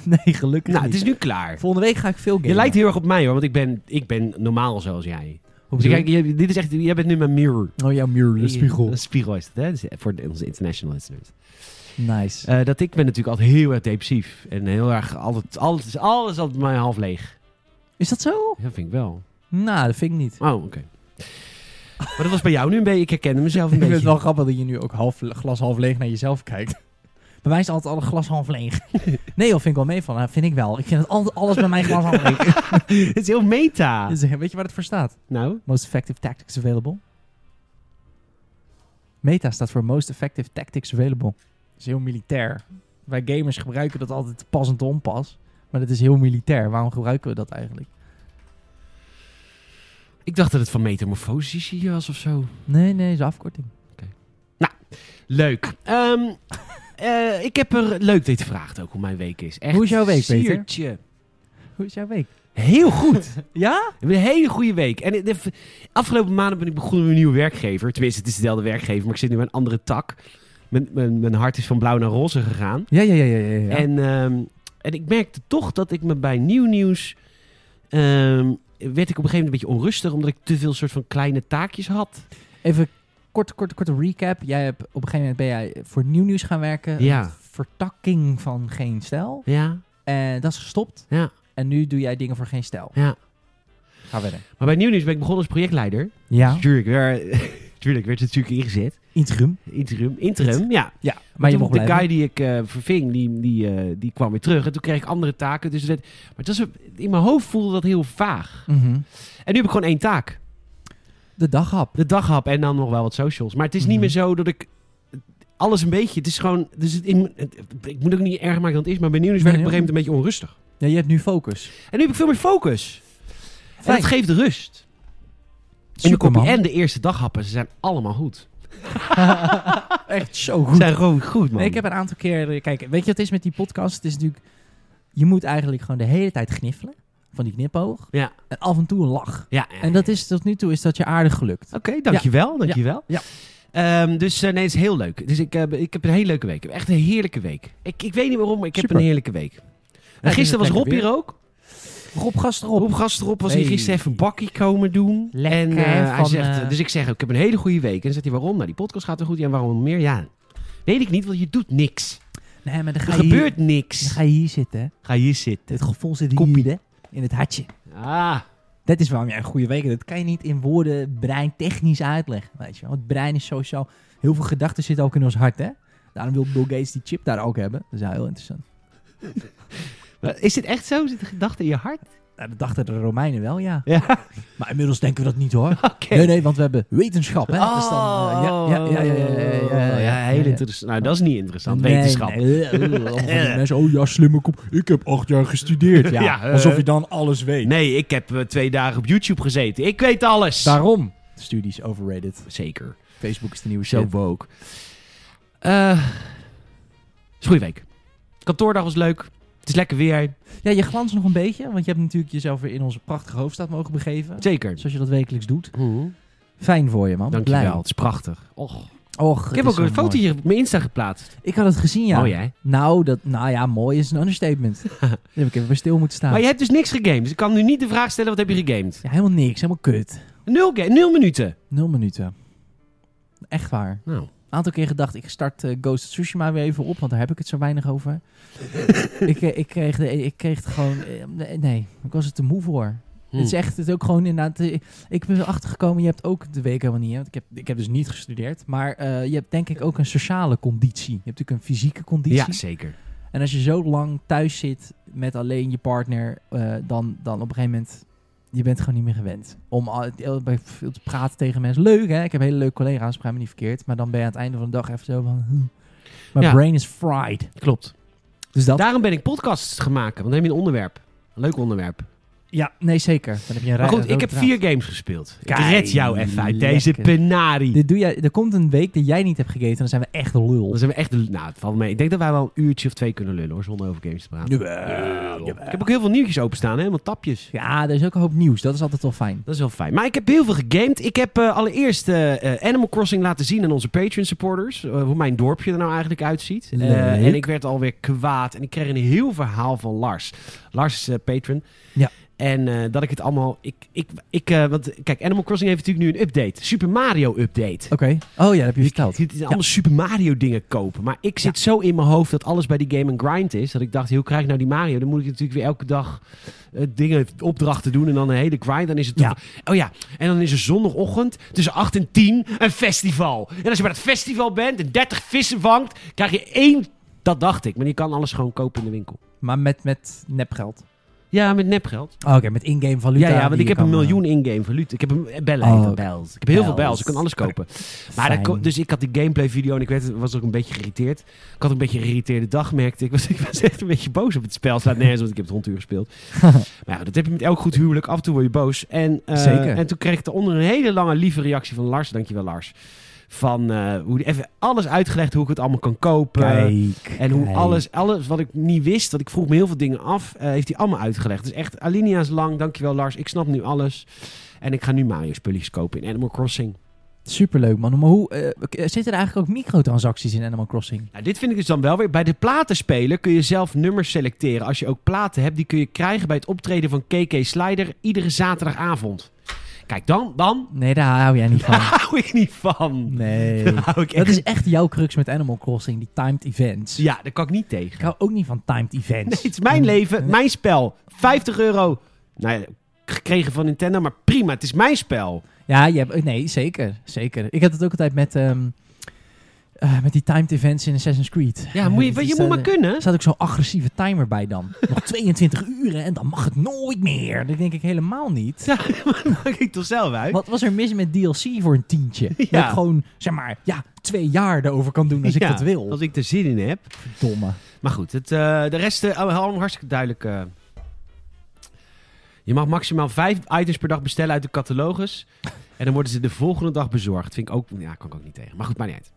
B: nee, gelukkig
A: Nou,
B: niet.
A: het is nu klaar.
B: Volgende week ga ik veel gamen.
A: Je lijkt heel erg op mij, hoor. Want ik ben, ik ben normaal zoals jij.
B: Hoe
A: Dus
B: bedoel
A: kijk, je- dit is echt... Jij bent nu mijn mirror.
B: je? Oh, jouw muur, de spiegel.
A: Een spiegel is het, hè? Dus voor de- onze international listeners.
B: Nice.
A: Eh, dat ik ben natuurlijk altijd heel erg depressief. En heel erg... Altijd, alles is alles altijd maar half leeg.
B: Is dat zo?
A: Dat vind ik wel.
B: Nou, dat vind ik niet.
A: Oh, oké. Maar dat was bij jou nu een beetje... Ik herkende mezelf een
B: Ik vind
A: beetje.
B: het wel grappig dat je nu ook half, glas half leeg naar jezelf kijkt. Bij mij is altijd alle glas half leeg. Nee, of vind ik wel mee van. Nou, vind ik wel. Ik vind het altijd alles bij mij glas half leeg.
A: Het is heel meta.
B: Dus, eh, weet je waar het voor staat?
A: Nou,
B: Most effective tactics available. Meta staat voor most effective tactics available. Dat is heel militair. Wij gamers gebruiken dat altijd pas en te onpas. Maar dat is heel militair. Waarom gebruiken we dat eigenlijk?
A: ik dacht dat het van metamorfosis hier was of zo.
B: Nee, nee, is een afkorting.
A: Leuk. Ehm, eh, ik heb er leuk dit gevraagd ook hoe mijn week is. Echt
B: Hoe is jouw week, Peter?
A: siertje.
B: Hoe is jouw week?
A: Heel goed.
B: Ja?
A: Ik heb een hele goede week. En de v- afgelopen maanden ben ik begonnen met een nieuwe werkgever. Tenminste, het is dezelfde werkgever, maar ik zit nu bij een andere tak. Mijn, mijn, mijn hart is van blauw naar roze gegaan.
B: Ja, ja, ja, ja. ja, ja.
A: En, ehm, en ik merkte toch dat ik me bij nieuw nieuws. ehm, werd ik op een gegeven moment een beetje onrustig, omdat ik te veel soort van kleine taakjes had.
B: Even kort, kort, korte recap. Jij hebt, op een gegeven moment ben jij voor nieuw nieuws gaan werken.
A: Ja.
B: Met Vertakking van geen stijl.
A: Ja,
B: En dat is gestopt.
A: ja,
B: En nu doe jij dingen voor geen stijl.
A: ja.
B: Ga verder.
A: Maar bij Nieuw Nieuws ben ik begonnen als projectleider. Dus
B: Ja.
A: Tuurlijk, werd, tuurlijk werd het natuurlijk ingezet.
B: Interim.
A: Interim, interim, ja.
B: Ja. Maar,
A: Maar
B: je
A: toen
B: mocht
A: de
B: blijven.
A: guy die ik eh, verving, die, die, eh, die kwam weer terug. En toen kreeg ik andere taken. Dus het werd- maar het was, in mijn hoofd voelde dat heel vaag.
B: Mhm.
A: En nu heb ik gewoon één taak.
B: De daghap.
A: De daghap en dan nog wel wat socials. Maar het is niet
B: Mhm.
A: meer zo dat ik alles een beetje... Het is gewoon... Dus het in, het- ik moet ook niet erg maken dan het is. Maar bij Nieuw Nieuws werd ik
B: Nee,
A: op een gegeven moment een beetje onrustig.
B: Ja, je hebt nu focus.
A: En nu heb ik veel meer focus. En
B: Fijn.
A: dat geeft rust. En de,
B: Superman.
A: kopie- en de eerste daghappen, ze zijn allemaal goed.
B: Echt zo
A: Ze
B: goed.
A: zijn gewoon goed, man.
B: Nee, ik heb een aantal keer... eh, Kijk, weet je wat het is met die podcast? Het is natuurlijk... Je moet eigenlijk gewoon de hele tijd gniffelen. Van die knipoog.
A: Ja.
B: En af en toe een lach.
A: Ja,
B: En dat is tot nu toe is dat je aardig gelukt.
A: Oké, dankjewel, dankjewel.
B: Ja.
A: Ehm, dus eh, nee, het is heel leuk. Dus ik, heb ik heb een hele leuke week. Echt een heerlijke week. Ik, ik weet niet waarom, maar ik heb
B: Super.
A: een heerlijke week. En
B: het is
A: gisteren was
B: lekker
A: Rob
B: weer.
A: hier ook.
B: Rob Gast erop.
A: Rob Gast erop was hier
B: Hey.
A: gisteren even een bakkie komen doen.
C: Lekker,
A: en eh, hij
C: van,
A: zegt,
C: eh,
A: dus ik zeg, ik heb een hele goede week. En dan zegt hij, waarom? Nou, die podcast gaat er goed. Ja, en waarom meer? Ja, weet ik niet, want je doet niks.
B: Nee, maar dan
A: Er
B: ga, je,
A: gebeurt
B: hier, dan
A: niks.
B: ga je hier zitten. hè.
A: Ga hier zitten.
B: Het gevoel zit
A: Koppie.
B: hier, hè? In het hartje.
A: Ah,
B: Dat is waarom jij een goede week hebt. Dat kan je niet in woorden breintechnisch uitleggen, weet je wel. Want het brein is sowieso... Heel veel gedachten zitten ook in ons hart, hè? Daarom wil Bill Gates die chip daar ook hebben. Dat is wel heel interessant.
A: is dit echt zo? Zit de gedachte in je hart?
B: Nou, dat dachten de Romeinen wel, ja.
A: Ja,
B: Maar inmiddels denken we dat niet, hoor.
A: oké. Oh.
B: Nee, nee, want we hebben wetenschap, hè? Dat is dan, eh, ja, ja, ja, ja, ja, ja, ja, ja, ja.
A: heel interessant. Nou, dat is niet interessant.
B: Nee,
A: Wetenschap.
B: nee, eh, eh, allemaal van die mensen, oh ja, slimme kop. Ik heb acht jaar gestudeerd. Ja,
A: Ja, eh.
B: alsof je dan alles weet.
A: Nee, ik heb eh, twee dagen op YouTube gezeten. Ik weet alles.
B: Daarom. Studies overrated.
A: Zeker.
B: Facebook is de nieuwe
A: Zo
B: show.
A: woke. Eh, is goede week. Kantoordag was leuk. Het is lekker weer.
B: Ja, je glanst nog een beetje, want je hebt natuurlijk jezelf weer in onze prachtige hoofdstad mogen begeven.
A: Zeker.
B: Zoals je dat wekelijks doet.
A: Mhm.
B: Fijn voor je, man.
A: Dankjewel. Het is prachtig. Och.
B: Blij. Och,
A: Ik
B: het
A: heb
B: is
A: ook een
B: zo mooi.
A: foto hier op mijn Insta geplaatst.
B: Ik had het gezien, ja.
A: Oh jij.
B: Nou, dat, nou ja, mooi is een understatement. Daar heb ik even bij stil moeten staan.
A: Maar je hebt dus niks gegamed. Dus ik kan nu niet de vraag stellen, wat heb je gegamed?
B: Ja, helemaal niks, helemaal kut.
A: Nul, ga- nul minuten.
B: Nul minuten. Echt waar.
A: Nou,
B: Een aantal keer gedacht, ik start eh, Ghost of Tsushima weer even op, want daar heb ik het zo weinig over. ik, eh, ik, kreeg de, ik kreeg het gewoon... eh, nee, nee, ik was er te moe voor.
A: Hm.
B: Het is echt het is ook gewoon inderdaad. eh, Ik ben erachter gekomen, je hebt ook de week helemaal niet. Hè? Want ik, heb, ik heb dus niet gestudeerd. Maar eh, je hebt denk ik ook een sociale conditie. Je hebt natuurlijk een fysieke conditie.
A: ja, zeker.
B: En als je zo lang thuis zit met alleen je partner, eh, dan, dan op een gegeven moment. Je bent gewoon niet meer gewend om al, heel- bij veel te praten tegen mensen. Leuk hè, ik heb hele leuke collega's, begrijp me niet verkeerd. Maar dan ben je aan het einde van de dag even zo van... "Huh, Mijn
A: Ja.
B: brain is fried.
A: Klopt.
B: Dus dat...
A: Daarom ben ik podcasts gaan maken. Want dan heb je een onderwerp. Een leuk onderwerp.
B: ja, nee zeker. Dan heb je
A: Maar
B: een rij-
A: goed,
B: rode
A: ik heb
B: draad.
A: vier games gespeeld. Ik
B: Kijk,
A: red jou even uit deze
B: lekker.
A: penarie.
B: Dit doe jij, er komt een week dat jij niet hebt gegeten en dan zijn we echt een lul.
A: Dan zijn we echt... Nou, het valt mee. Ik denk dat wij wel een uurtje of twee kunnen lullen hoor, zonder over games te praten.
B: Jawel,
A: Ik heb ook heel veel nieuwtjes openstaan, hè? helemaal tapjes.
B: Ja, er is ook een hoop nieuws. Dat is altijd wel fijn.
A: Dat is wel fijn. Maar ik heb heel veel gegamed. Ik heb eh, allereerst eh, eh, Animal Crossing laten zien aan onze Patreon supporters. eh, hoe mijn dorpje er nou eigenlijk uitziet. Eh,
B: Leuk.
A: en ik werd alweer kwaad. En ik kreeg een heel verhaal van Lars. Lars is eh, patron.
B: Ja.
A: En eh, dat ik het allemaal... Ik, ik, ik, eh, want kijk, Animal Crossing heeft natuurlijk nu een update. Super Mario update.
B: Oké. Oh ja, dat heb je verteld.
A: Ik zit allemaal Super Mario dingen kopen. Maar ik zit zo in mijn hoofd dat alles bij die game een grind is. Dat ik dacht, hoe krijg ik nou die Mario? Dan moet ik natuurlijk weer elke dag eh, dingen, opdrachten doen. En dan een hele grind. Dan is het
B: Ja.
A: Oh ja, en dan is er zondagochtend tussen 8 en 10 een festival. En als je bij dat festival bent en 30 vissen vangt, krijg je één... Dat dacht ik, maar je kan alles gewoon kopen in de winkel.
B: Maar met, met nepgeld.
A: Ja, met nepgeld.
B: Oh, Oké, met in-game valuta.
A: Ja, ja,
B: die
A: want ik
B: je
A: heb een
B: kan, eh,
A: miljoen in-game valuta. Ik heb een bellen.
B: Oh,
A: ik heb
B: oké.
A: bells. Ik heb heel veel
B: Bells.
A: bells. Ik kan alles kopen. Maar
B: fijn.
A: dat ko- dus ik had die gameplay video en ik werd, was ook een beetje geïrriteerd. Ik had een beetje een geïrriteerde dag, merkte ik. Was, ik was echt een beetje boos op het spel. Het Slaat nergens, want ik heb het rond uur gespeeld. maar ja, dat heb je met elk goed huwelijk. Af en toe word je boos. En, eh,
B: Zeker.
A: En toen kreeg ik onder een hele lange lieve reactie van Lars. Dankjewel Lars. Van eh, hoe die- even alles uitgelegd hoe ik het allemaal kan kopen.
B: Kijk.
A: En hoe
B: kijk.
A: alles, alles wat ik niet wist, want ik vroeg me heel veel dingen af, eh, heeft hij allemaal uitgelegd. Dus echt, Alinea's lang, dankjewel Lars, ik snap nu alles. En ik ga nu Mario spulletjes kopen in Animal Crossing.
B: Superleuk, man. Maar hoe... eh, k- eh, zitten er eigenlijk ook microtransacties in Animal Crossing?
A: Nou, dit vind ik dus dan wel weer. Bij de platenspeler kun je zelf nummers selecteren. Als je ook platen hebt, die kun je krijgen bij het optreden van KK Slider iedere zaterdagavond. Kijk, dan, dan
B: Nee, daar hou jij niet van.
A: hou ik niet van.
B: Nee.
A: Daar hou ik
B: Dat
A: echt...
B: is echt jouw crux met Animal Crossing, die timed events.
A: Ja, daar kan ik niet tegen.
B: Ik hou ook niet van timed events. Mm.
A: Nee, het is mijn leven, mijn spel. 50 euro. Nou ja, gekregen van Nintendo, maar prima, het is mijn spel.
B: Ja, je hebt, nee, zeker. Zeker. Ik had het ook altijd met, ehm, eh, met die timed events in Assassin's Creed.
A: Ja,
B: Eh,
A: moet je,
B: dat
A: je
B: is
A: moet
B: dan,
A: maar
B: eh,
A: kunnen.
B: Er staat ook zo'n agressieve timer bij dan. Nog 22 uren en dan mag het nooit meer. Dat denk ik helemaal niet.
A: Ja, maar dat maak ik toch zelf uit?
B: Wat was er mis met DLC voor een tientje? Dat
A: Ja.
B: ik gewoon, zeg maar, ja, twee jaar erover kan doen als ik
A: Ja,
B: dat wil.
A: Als ik er zin in heb.
B: Domme.
A: Maar goed, het, eh, de rest eh, allemaal hartstikke duidelijk. eh. je mag maximaal vijf items per dag bestellen uit de catalogus. En dan worden ze de volgende dag bezorgd. Vind ik ook, ja, kan ik ook niet tegen. Maar goed, maar niet uit.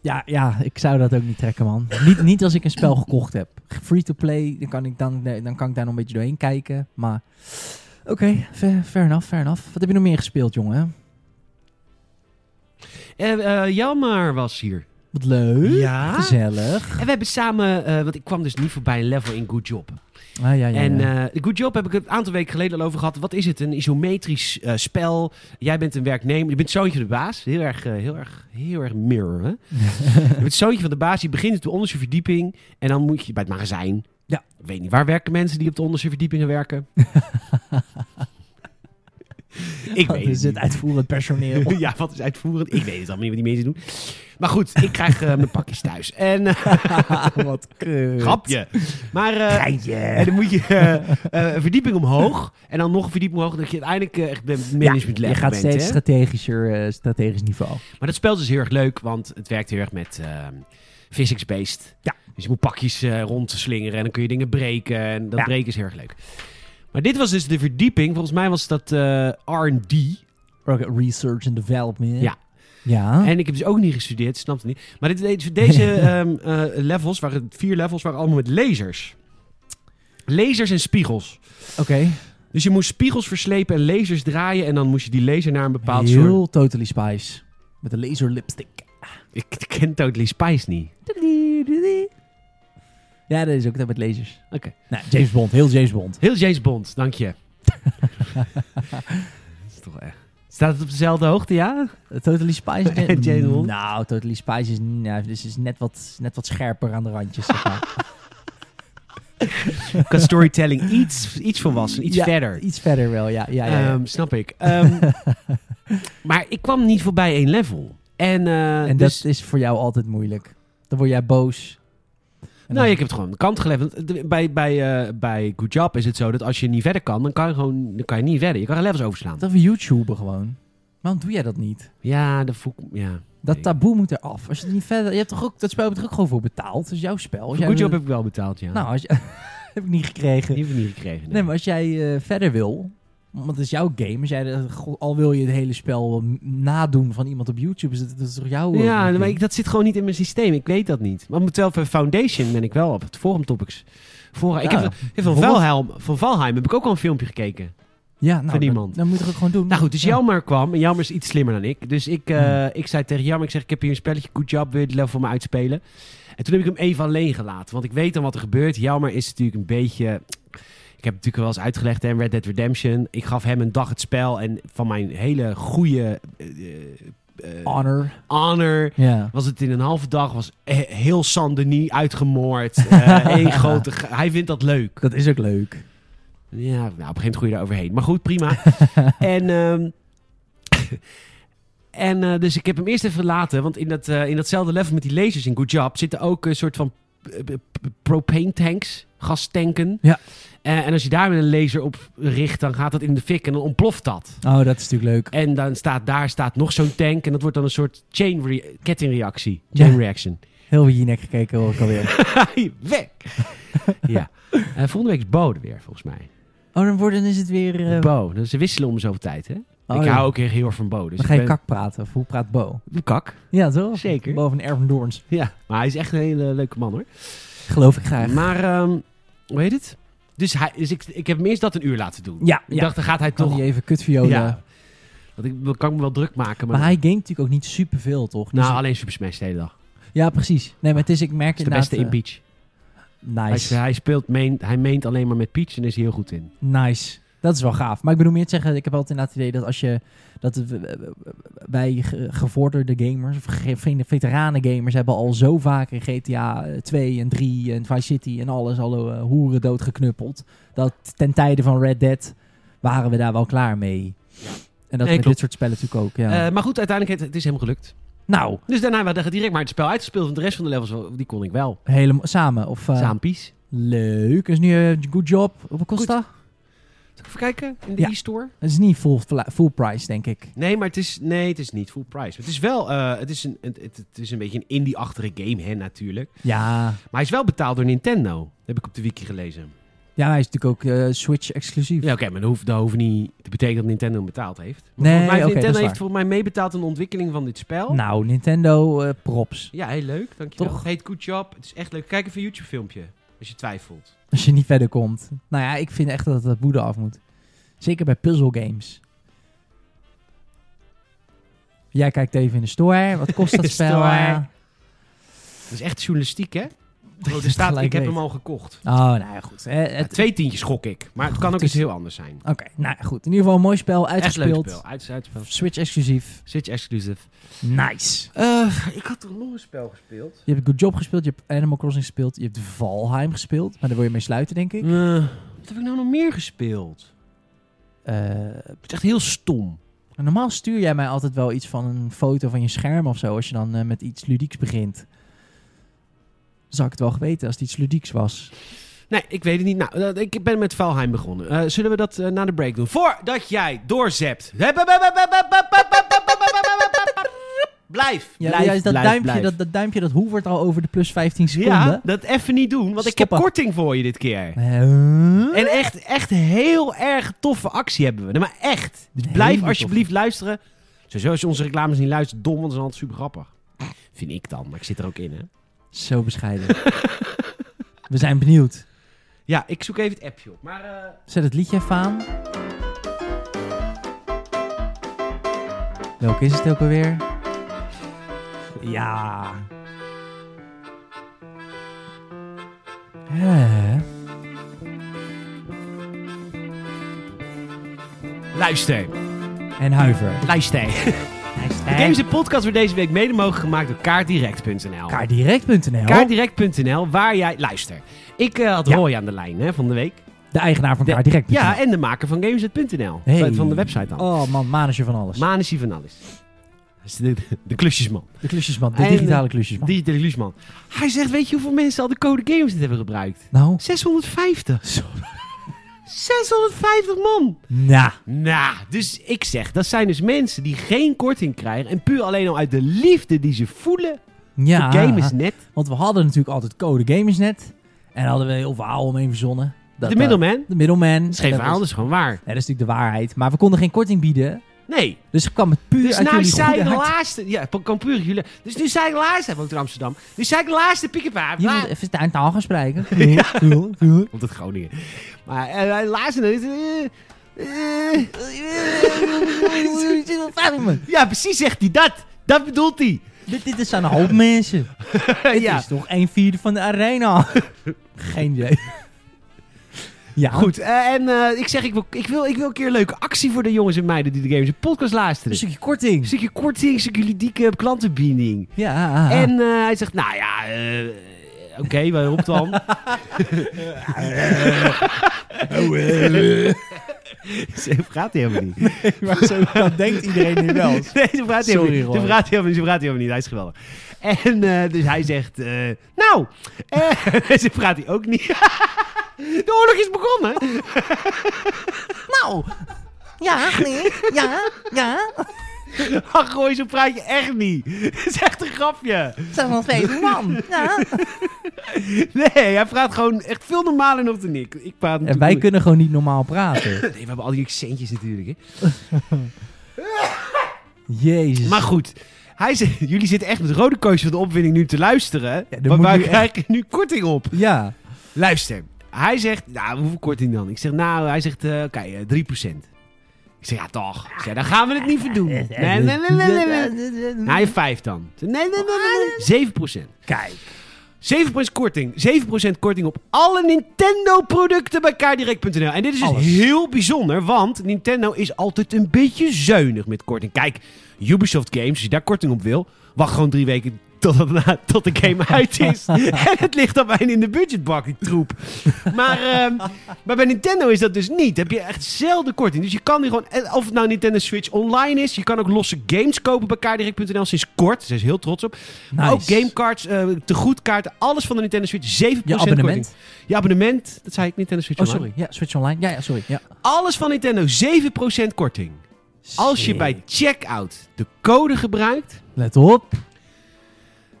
B: Ja, ja, ik zou dat ook niet trekken, man. niet, niet als ik een spel gekocht heb. Free to play, dan kan ik, dan, nee, dan kan ik daar nog een beetje doorheen kijken. Maar oké, fair, fair enough, fair enough. Wat heb je nog meer gespeeld, jongen?
A: Eh eh, Jelmer was hier.
B: Wat leuk.
A: Ja.
B: Gezellig.
A: En we hebben samen, eh, want ik kwam dus niet voorbij een level in Good Job.
B: Ah, ja, ja, ja.
A: En eh, Good Job heb ik het een aantal weken geleden al over gehad. Wat is het? Een isometrisch eh, spel. Jij bent een werknemer. Je bent zoontje van de baas. Heel erg, eh, heel erg, heel erg mirror, hè? je bent zoontje van de baas. Je begint op de onderste verdieping. En dan moet je bij het magazijn.
B: Ja.
A: Ik weet niet, waar werken mensen die op de onderste verdiepingen werken? ik
B: Dat
A: weet het
B: is het
A: niet.
B: uitvoerend personeel.
A: ja, wat is uitvoerend? Ik weet het allemaal niet wat die mensen doen. Maar goed, ik krijg eh, mijn pakjes thuis. En eh,
B: Wat kut.
A: grapje. Maar eh, en
B: Geintje.
A: dan moet je eh, eh, een verdieping omhoog. En dan nog een verdieping omhoog. Dat je uiteindelijk eh, echt bij management level
B: Ja, je gaat
A: bent.
B: steeds
A: hè?
B: strategischer, eh, strategisch niveau.
A: Maar dat spel is dus heel erg leuk. Want het werkt heel erg met ehm, physics-based.
B: Ja.
A: Dus je moet pakjes eh rondslingeren. En dan kun je dingen breken. En dat
B: Ja.
A: breken is heel erg leuk. Maar dit was dus de verdieping. Volgens mij was dat eh, R&D.
B: Oh. Ook Research and development.
A: Ja.
B: Ja.
A: En ik heb dus ook niet gestudeerd. Snap het niet. Maar dit, deze, deze ehm, eh, levels, waren, vier levels, waren allemaal met lasers. Lasers en spiegels.
B: Oké.
A: Dus je moest spiegels verslepen en lasers draaien. En dan moest je die laser naar een bepaald
B: Heel
A: soort...
B: Totally Spice. Met een laser lipstick.
A: Ik ken Totally Spice niet.
B: Ja, dat is ook dat met lasers.
A: Oké.
B: Nou, James Bond. Heel James Bond.
A: Heel James Bond, dank je. Dat is toch echt... Staat het op dezelfde hoogte, ja?
B: Totally Spice.
A: En Eh, James Bond.
B: Nou, Totally Spice is, nou, dus is net, wat, net wat scherper aan de randjes. zeg maar.
A: Qua storytelling iets, iets volwassen, iets
B: Ja,
A: verder.
B: Iets verder wel, ja. ja, ja, ja.
A: Ehm, snap ik. Ehm, maar ik kwam niet voorbij één level. En, eh,
B: en
A: dus,
B: dat is voor jou altijd moeilijk. Dan word jij boos. En dan-
A: nou, ik heb het gewoon aan de kant gelegd. Want, eh, Bij, bij, eh, bij Good Job is het zo dat als je niet verder kan, dan kan je, gewoon, dan kan je niet verder. Je kan geen levels overslaan.
B: Dat we YouTuber gewoon. Waarom doe jij dat niet?
A: Ja, dat voel ik... Ja.
B: Dat
A: Ik-
B: taboe moet eraf. Als je het niet verder. Je hebt toch ook dat spel heb je toch ook gewoon voor betaald. Dat is jouw spel. Als
A: Voor
B: jij-
A: Good Job heb ik wel betaald, ja.
B: Nou, als je- heb ik niet gekregen.
A: die heb ik niet gekregen.
B: Nee, maar als jij eh, verder wil, want het is jouw game, als jij, de- go- al wil je het hele spel m- nadoen van iemand op YouTube, is het dat is toch jouw... eh,
A: ja,
B: ding?
A: maar ik, dat zit gewoon niet in mijn systeem. Ik weet dat niet. Maar met wel van Foundation ben ik wel op het Forum Topics. Voor, ik
B: Ja,
A: heb, ik heb van,
B: bijvoorbeeld.
A: Valheim, van Valheim heb ik ook al een filmpje gekeken.
B: ja, nou,
A: van
B: dan-
A: iemand.
B: Dan, moet je het ook gewoon doen.
A: Nou goed, dus
B: Ja.
A: Jelmer kwam. En Jelmer is iets slimmer dan ik. Dus ik, eh,
B: Hmm.
A: ik zei tegen Jelmer, ik zeg, ik heb hier een spelletje. Good job, wil je het level voor me uitspelen? En toen heb ik hem even alleen gelaten. Want ik weet dan wat er gebeurt. Jelmer is natuurlijk een beetje... Ik heb het natuurlijk wel eens uitgelegd, hè, Red Dead Redemption. Ik gaf hem een dag het spel. En van mijn hele goede... eh, eh,
B: Honor.
A: honor
B: Ja.
A: was het in een halve dag, was he- heel Saint-Denis uitgemoord. Eh één grote ge- Hij vindt dat leuk.
B: Dat is ook leuk.
A: Ja, nou, op een gegeven moment groei je daar overheen. Maar goed, prima. en ehm, en eh, dus ik heb hem eerst even laten. Want in, dat, eh, in datzelfde level met die lasers in Good Job zitten ook een soort van eh, p- p- propane tanks, gastanken.
B: Ja.
A: Eh, en als je daar met een laser op richt, dan gaat dat in de fik en dan ontploft dat.
B: Oh, dat is natuurlijk leuk.
A: En dan staat daar staat nog zo'n tank en dat wordt dan een soort chain re- kettingreactie.
B: Ja.
A: Chain reaction.
B: Heel wie nek gekeken hoor ik alweer.
A: Hey, weg! ja. Eh, volgende week is Bo er weer, volgens mij.
B: Oh, dan worden is het weer... eh,
A: Bo. Dus ze wisselen om zoveel tijd, hè?
B: oh,
A: ik
B: ja.
A: hou ook heel heel erg van Bo. Dus
B: Dan ga je
A: ik ben-
B: kak praten. Of hoe praat Bo?
A: Kak.
B: Ja, toch?
A: Zeker.
B: Boven een Ervan Doorns.
A: Ja. Maar hij is echt een hele leuke man, hoor.
B: Geloof ik graag.
A: Maar, ehm, hoe heet het? Dus, hij, dus ik, ik heb hem eerst dat een uur laten doen.
B: Ja,
A: Ik
B: ja. Oh,
A: dacht, dan gaat hij
B: Kan
A: toch...
B: die even kutviolen.
A: Ja. Want ik dan kan ik me wel druk maken, maar...
B: eh. Maar hij gamet natuurlijk ook niet superveel, toch? Dus-
A: Nou, alleen Super Smash de hele dag. Dat
B: ja, precies. Nee, maar het is, ik merk
A: is de beste in
B: inderdaad, eh,
A: Peach.
B: Nice.
A: Hij, hij speelt, main, hij meent alleen maar met Peach en is hier heel goed in.
B: Nice. Dat is wel gaaf. Maar ik bedoel meer te zeggen, ik heb altijd inderdaad het idee dat als je dat we- wij ge- gevorderde gamers, of ge- vele- veteranen gamers, hebben al zo vaak in GTA 2 eh, en 3 en Vice City en alles al eh, hoeren doodgeknuppeld. Dat ten tijde van Red Dead waren we daar wel klaar mee. En dat
A: Nee,
B: met
A: klopt.
B: dit soort spellen natuurlijk ook. Ja.
A: Eh, maar goed, uiteindelijk het, het is hem gelukt.
B: nou,
A: Dus daarna hebben we direct maar het spel uitgespeeld. Want de rest van de levels, wel- die kon ik wel.
B: helemaal samen. Of, eh,
A: Samen Peach.
B: Leuk. Dus nu een good job. Wat kost
A: Goed.
B: dat?
A: Zal ik even kijken in de
B: Ja.
A: e-store?
B: Dat is niet full, full price, denk ik.
A: Nee, maar het is, nee, het is niet full price. Het is wel eh, het is een, het, het- het is een beetje een indie-achtige game, hè, natuurlijk.
B: Ja,
A: Maar hij is wel betaald door Nintendo. Heb ik op de wiki gelezen.
B: ja hij is natuurlijk ook eh, Switch-exclusief.
A: Ja, oké, maar dat hoeft, dat hoeft niet te betekenen dat Nintendo hem betaald heeft. Maar
B: Nee,
A: volgens mij heeft
B: oké, dat
A: Nintendo
B: is
A: heeft
B: waar.
A: volgens mij meebetaald aan de ontwikkeling van dit spel.
B: Nou, Nintendo eh, props.
A: Ja, heel leuk. Dankjewel.
B: Toch?
A: Heet Good Job. Het is echt leuk. Kijk even een YouTube-filmpje, als je twijfelt.
B: Als je niet verder komt. Nou ja, ik vind echt dat dat boede af moet. Zeker bij puzzelgames. Jij kijkt even in de store. Wat kost dat
A: De
B: spel?
A: store.
B: eh?
A: Dat is echt journalistiek, hè? Oh, er
B: het
A: staat,
B: gelijk
A: ik heb
B: weet.
A: hem al gekocht.
B: Oh, nou ja, goed. Eh,
A: Ja,
B: het-
A: twee tientjes gok ik. Maar het kan ook
B: het is-
A: iets heel anders zijn.
B: Oké, nou ja, goed. In ieder geval een mooi spel,
A: Echt leuk
B: uitgespeeld.
A: spel. Uit, uitspel.
B: Switch exclusief.
A: Switch exclusive.
B: Nice.
A: Eh, ik had toch nog een spel gespeeld?
B: Je hebt Good Job gespeeld, je hebt Animal Crossing gespeeld, je hebt Valheim gespeeld. Maar daar wil je mee sluiten, denk
A: Mm.
B: ik.
A: wat heb ik nou nog meer gespeeld?
B: Eh,
A: Het is echt heel stom.
B: normaal stuur jij mij altijd wel iets van een foto van je scherm of zo. Als je dan eh, met iets ludieks begint. Dan zou ik het wel geweten als het iets ludieks was.
A: Nee, ik weet het niet. Nou, dat- ik ben met Valheim begonnen. Eh, zullen we dat eh, na de break doen? Voordat jij doorzept. Blijf.
B: Ja,
A: blijf,
B: ja,
A: blijf,
B: dat, duimpje,
A: blijf.
B: Dat, dat duimpje, dat hoevert al over de plus 15 seconden.
A: Ja, dat even niet doen, want ik heb
B: Stoppen.
A: korting voor je dit keer.
B: Eh,
A: En echt, echt heel erg toffe actie hebben we. Nee, maar echt. Dus
B: Hele
A: blijf
B: toffe.
A: alsjeblieft luisteren. Sowieso als je onze reclames niet luistert, dom, want dat is altijd super grappig. Vind ik dan, maar ik zit er ook in, hè.
B: Zo bescheiden. We zijn benieuwd.
A: Ja, ik zoek even het appje op. Maar eh,
B: Zet het liedje even aan. Welke is het ook alweer? Ja. Hè?
A: luister,
B: En huiver.
A: luister.
C: Nice,
A: De Games en Podcast wordt deze week mede mogelijk gemaakt door kaartdirect.nl.
B: Kaardirect.nl.
A: Kaartdirect.nl, waar jij... Luister, ik eh, had
B: Ja.
A: Roy aan de lijn hè, van de week.
B: de eigenaar van
A: De-
B: Kaardirect.nl.
A: Ja, en de maker van Games.nl.
B: Hey.
A: Van de website dan.
B: Oh man, manager van alles.
A: Manesi van alles. Dat is De, de, de klusjesman.
B: de klusjesman, de
A: En-
B: digitale klusjesman.
A: Digitale klusjesman. Hij zegt, weet je hoeveel mensen al de code games dit hebben gebruikt?
B: nou,
A: 650.
B: Zo.
A: 650 man.
B: nou.
A: Nou, dus ik zeg, dat zijn dus mensen die geen korting krijgen... en puur alleen al uit de liefde die ze voelen
B: Ja,
A: voor Gamersnet.
B: want we hadden natuurlijk altijd code Gamersnet. En daar hadden we een heel verhaal omheen verzonnen. Dat,
A: de
B: eh,
A: middleman. Dat
B: de middleman.
A: is geen verhaal,
B: Dat was-
A: dat is gewoon waar.
B: Ja, dat is natuurlijk de waarheid. Maar we konden geen korting bieden.
A: Nee.
B: Dus kwam het puur
A: Dus
B: uit
A: nou
B: jullie
A: zijn
B: goede
A: de
B: hart.
A: laatste... Ja, kan puur jullie... Dus nu zijn de laatste... Hij woont in Amsterdam. Nu zijn de laatste pick-up
B: Je moet even de taal gaan spreken. Cool, cool.
A: Komt uit Groningen. Maar eh, hij laatste is... eh, eh, ja, precies zegt hij dat. Dat bedoelt hij.
B: dit, dit is aan een hoop mensen. Dit
A: ja,
B: is toch een vierde van de arena. Geen idee. Ja,
A: goed. eh, en eh, ik zeg, ik wil, ik, wil, ik wil een keer een leuke actie voor de jongens en meiden die de Games en Podcast
B: Een
A: luisteren.
B: stukje korting.
A: stukje korting, een stukje ludieke klantenbinding.
B: Ja.
A: En eh, hij zegt, nou ja, eh, oké, waarop dan? Eh,
B: Oh, eh.
A: Zo praat hij helemaal niet.
B: maar zo dat denkt iedereen nu wel.
A: Nee, zo praat hij helemaal
B: Sorry,
A: niet.
B: Roy.
A: Zo praat hij helemaal niet. Zo praat hij helemaal niet. Hij is geweldig. En eh, dus hij zegt, eh, nou, eh, zo praat hij ook niet. De oorlog is begonnen.
B: Nou, ja, nee, ja, ja.
A: Ach, gooi, zo praat je echt niet. Het is echt een grapje.
B: Zijn nog twee man. Ja.
A: Nee, hij praat gewoon echt veel normaler nog dan ik. Ik praat
B: En
A: natuurlijk
B: wij kunnen gewoon niet normaal praten.
A: Nee, we hebben al die accentjes natuurlijk, hè.
B: Jezus.
A: Maar goed, hij zegt, jullie zitten echt met rode koosjes van de opwinding nu te luisteren.
B: dan
A: maar
B: moet
A: wij
B: nu echt-
A: krijgen nu korting op.
B: Ja.
A: Luister, hij zegt, nou, hoeveel korting dan? Ik zeg, nou, hij zegt, eh, oké, eh, 3%. Ik zeg, ja toch. Ik zeg, dan gaan we het niet verdoen. Nee, nee, nee, nee, nee, nee. Nou, je 5 dan. Ik zeg, Nee, nee, nee, nee, nee. 7%.
B: Kijk.
A: 7% korting. 7% korting op alle Nintendo-producten bij kaardirect.nl. En dit is dus
B: Alles.
A: heel bijzonder, want Nintendo is altijd een beetje zuinig met korting. Kijk, Ubisoft Games, als je daar korting op wil, wacht gewoon drie weken tot, het na- tot de game uit is. en het ligt dan bijna in de budgetbak, die troep. Maar, ehm, maar bij Nintendo is dat dus niet. Heb je echt zelden korting. Dus je kan nu gewoon, en of het nou Nintendo Switch online is, je kan ook losse games kopen bij kaardirect.nl sinds kort. Ze is heel trots op. Maar Ook
B: Nice.
A: gamecards, eh tegoedkaarten, alles van de Nintendo Switch. 7%
B: Je abonnement.
A: korting. Je abonnement, dat zei ik, Nintendo Switch
B: Oh,
A: Online.
B: sorry. Ja, Switch Online. Ja, ja sorry. Ja.
A: Alles van Nintendo, 7% korting. Als je bij checkout de code gebruikt,
B: Let op.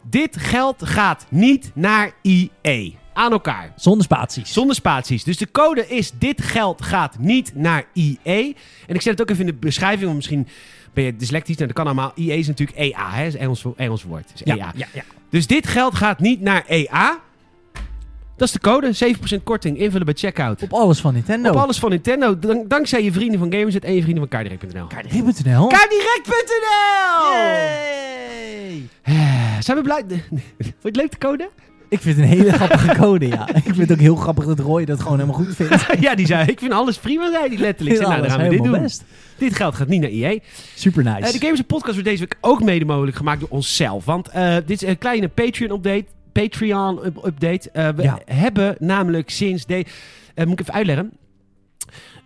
A: dit geld gaat niet naar IE. Aan elkaar.
B: Zonder spaties.
A: Zonder spaties. Dus de code is: dit geld gaat niet naar IE. En ik zet het ook even in de beschrijving, want misschien ben je dyslectisch. Nou, dat kan allemaal. IE is natuurlijk EA, E hè? Is Engels, Engels woord. Is EA.
B: ja, ja.
A: Dus dit geld gaat niet naar EA. E Dat is de code. 7% korting invullen bij checkout.
B: Op alles van Nintendo.
A: Op alles van Nintendo. dank- dankzij je vrienden van Gamerzit en je vrienden van kaardirect.nl.
B: Rip.nl.
A: Kaardirect.nl! Eh, Zijn we blij? Vond je het leuk, de code?
B: Ik vind het een hele grappige code, ja. Ik vind het ook heel grappig dat Roy dat gewoon helemaal goed vindt.
A: ja, die zei, ik vind alles prima, zei die letterlijk. Ik zei, nou, dan gaan we dit doen.
B: best.
A: Dit geld gaat niet naar IE.
B: Super
A: Eh,
B: nice.
A: de Gamers Podcast wordt deze week ook mede mogelijk gemaakt door onszelf. Want eh, dit is een kleine Patreon-update. Patreon-update. Eh, we
B: Ja.
A: hebben namelijk sinds... De eh, moet ik even uitleggen.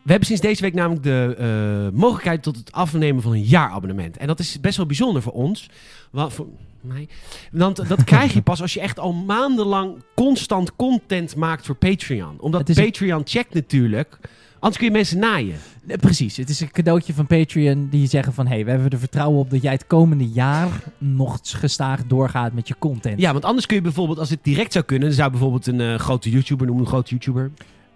A: We hebben sinds deze week namelijk de eh, mogelijkheid tot het afnemen van een jaarabonnement. En dat is best wel bijzonder voor ons. Want, voor mij. Want dat krijg je pas als je echt al maandenlang constant content maakt voor Patreon. Omdat
B: Het is een-
A: Patreon checkt natuurlijk. Anders kun je mensen naaien.
B: Eh, Precies, het is een cadeautje van Patreon die zeggen van... hé, hey, we hebben er vertrouwen op dat jij het komende jaar nog gestaag doorgaat met je content.
A: Ja, want anders kun je bijvoorbeeld, als dit direct zou kunnen, dan zou bijvoorbeeld een eh, grote YouTuber, noem een grote YouTuber.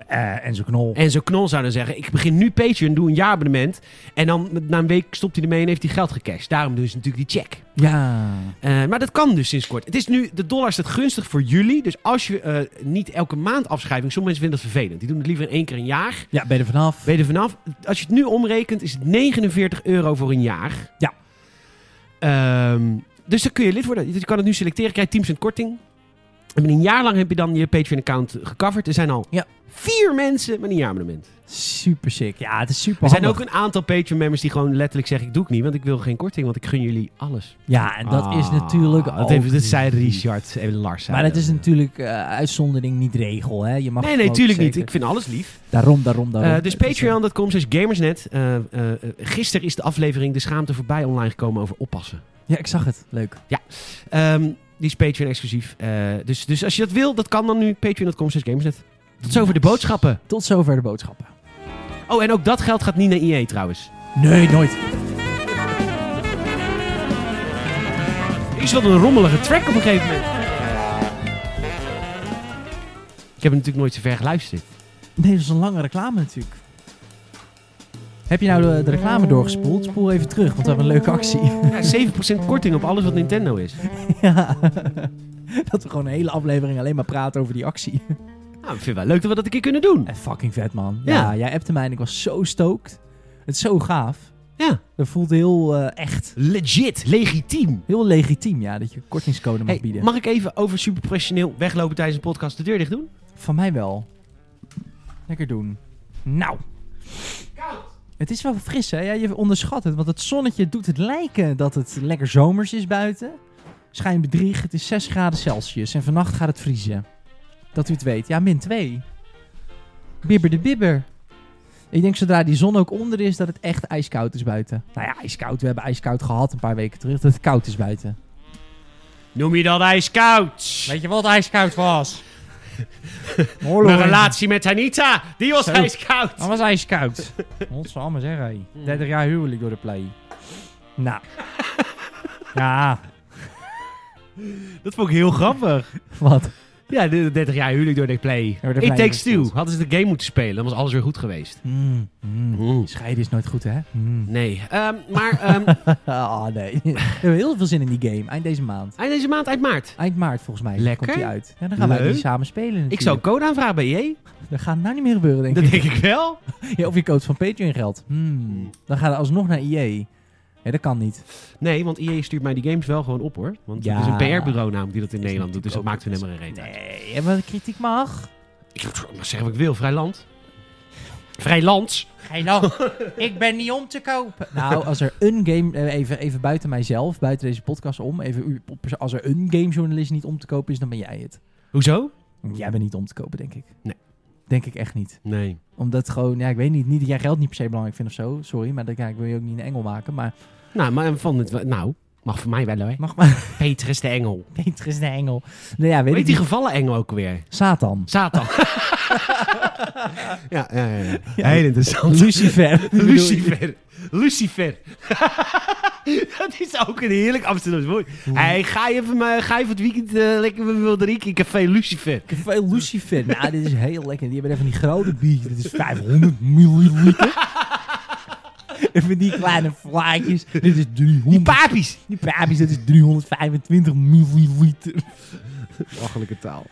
B: Eh, en zo knol.
A: En zo'n knol zou dan zeggen: Ik begin nu Patreon, doe een jaarabonnement. En dan na een week stopt hij ermee en heeft hij geld gecashed. Daarom doen ze natuurlijk die check.
B: Ja.
A: Eh, maar dat kan dus sinds kort. Het is nu, de dollar staat gunstig voor jullie. Dus als je eh, niet elke maand afschrijving, sommige mensen vinden dat vervelend. Die doen het liever in één keer een jaar.
B: Ja, ben je er vanaf.
A: Ben je er vanaf? Als je het nu omrekent, is het 49 euro voor een jaar.
B: Ja.
A: Ehm, dus dan kun je lid worden. Je kan het nu selecteren. Krijg je 10% korting. En binnen een jaar lang heb je dan je Patreon-account gecoverd. Er zijn al
B: Ja.
A: vier mensen met een jaarabonnement.
B: Super sick. Ja, het is super
A: Er zijn
B: handig.
A: ook een aantal Patreon-members die gewoon letterlijk zeggen... ik doe het niet, want ik wil geen korting, want ik gun jullie alles.
B: Ja, en dat is
A: Ah,
B: natuurlijk
A: Dat, heeft,
B: ook
A: dat zei
B: lief.
A: Richard en Lars.
B: Maar
A: dat
B: dat is natuurlijk eh, uitzondering, niet regel. Hè? Je mag
A: Nee,
B: hem
A: nee,
B: ook
A: tuurlijk niet.
B: zeker-
A: Ik vind alles lief.
B: Daarom, daarom, daarom.
A: Eh, dus
B: Het is, eh,
A: patreon.com slash gamersnet. Eh, eh, eh, gisteren is de aflevering De Schaamte voorbij online gekomen over oppassen.
B: Ja, ik zag het. Leuk.
A: Ehm, die is Patreon exclusief. Eh, dus, dus als je dat wil, dat kan dan nu. Patreon.com slash gamersnet. Tot zover de
B: Nice.
A: boodschappen.
B: Tot zover de boodschappen.
A: Oh, en ook dat geld gaat niet naar IE trouwens.
B: Nee, nooit.
A: Is wat een rommelige track op een gegeven moment. Ik heb hem natuurlijk nooit zo ver geluisterd.
B: Nee, dat is een lange reclame natuurlijk. Heb je nou de, de reclame doorgespoeld? Spoel even terug, want we hebben een leuke actie.
A: Ja, 7% korting op alles wat Nintendo is.
B: ja. Dat we gewoon een hele aflevering alleen maar praten over die actie.
A: Nou, ik vind het wel leuk dat we dat een keer kunnen doen.
B: En Eh, fucking vet, man. Ja,
A: Ja.
B: jij appte mij en ik was zo stoked. Het is zo gaaf.
A: Ja.
B: Dat voelt heel eh, echt.
A: Legit, legitiem.
B: Heel legitiem, ja, dat je kortingscode mag
A: Hey,
B: bieden.
A: mag ik even over superprofessioneel weglopen tijdens een podcast de deur dicht doen?
B: Van mij wel. Lekker doen. Nou. Het is wel fris, hè? Ja, je onderschat het, want het zonnetje doet het lijken dat het lekker zomers is buiten. Schijnbedrieg, het is 6 graden Celsius en vannacht gaat het vriezen. Dat u het weet. Ja, min 2. Bibber de bibber. Ik denk zodra die zon ook onder is, dat het echt ijskoud is buiten. Nou ja, ijskoud. We hebben ijskoud gehad een paar weken terug, dat het koud is buiten.
A: Noem je dat ijskoud?
C: Weet je wat ijskoud was?
A: Mijn relatie met Anita, die was
C: Zo.
A: ijskoud.
C: Dat was ijskoud. Godsamme zeg, hé.
A: Hmm.
C: 30 jaar huwelijk door de play.
B: Nou,
C: Ja.
A: Dat vond ik heel grappig.
B: wat?
A: Ja, de 30 jaar huwelijk door de play.
B: Door de
A: It
B: Play
A: Takes
B: gespeeld.
A: Two. Hadden ze de game moeten spelen, dan was alles weer goed geweest.
B: Mm, mm. Scheiden is nooit goed, hè?
A: Nee. Ehm, maar ehm,
B: Ah, nee. We hebben heel veel zin in die game. Eind deze maand.
A: eind deze maand, eind maart.
B: Eind maart, volgens mij.
A: Lekker.
B: Komt die uit. Ja, dan gaan wij
A: Leuk.
B: die samen spelen
A: Ik
B: natuurlijk.
A: zou een code aanvragen bij je.
B: Dat gaat nou niet meer gebeuren, denk
A: Dat
B: ik.
A: denk ik wel.
B: Ja, of je coach van Patreon geld. Hmm. Dan gaat het alsnog naar EA. Ja, dat kan niet.
A: Nee, want EA stuurt mij die games wel gewoon op hoor. Want
B: Ja.
A: het is een PR-bureau namelijk die dat in Nederland doet. Dus dat maakt
B: natuurlijk
A: hun helemaal
B: ook-
A: geen reet uit.
B: Nee, en wat kritiek mag.
A: Ik mag zeggen wat ik wil. Vrij land. Vrij lands.
C: Geen lach. Ik ben niet om te kopen.
B: Nou, als er een game... eh, Even, even buiten mijzelf, buiten deze podcast om. Even, u- op- als er een gamejournalist niet om te kopen is, dan ben jij het.
A: Hoezo?
B: Jij bent niet om te kopen, denk ik.
A: Nee.
B: Denk ik echt niet.
A: Nee.
B: Omdat gewoon, ja, ik weet niet, niet dat jij geld niet per se belangrijk vindt of zo. Sorry, maar dat, ja, ik wil je ook niet een engel maken. Maar
A: Nou, maar van het, nou, mag voor mij wel hoor.
B: mag maar.
A: Petrus de Engel.
B: Peter is de engel. Nou ja, weet
A: Weet
B: ik
A: die
B: niet.
A: gevallen engel ook weer?
B: Satan.
A: Satan. ja, ja, ja, ja. Heel interessant.
B: Lucifer.
A: Lucifer. Lucifer. dat is ook een heerlijk Amsterdams woord. Hey, ga je even, eh, ga je voor het weekend eh, lekker met wilde drinken in Café Lucifer.
B: Veel Lucifer. Nou, dit is heel lekker. Die hebben even die grote bier. Dit is 500 milliliter. Even die kleine vlaatjes. Dit is 300.
A: Die papies.
B: die papies, dit is 325 milliliter.
A: Lachelijke taal.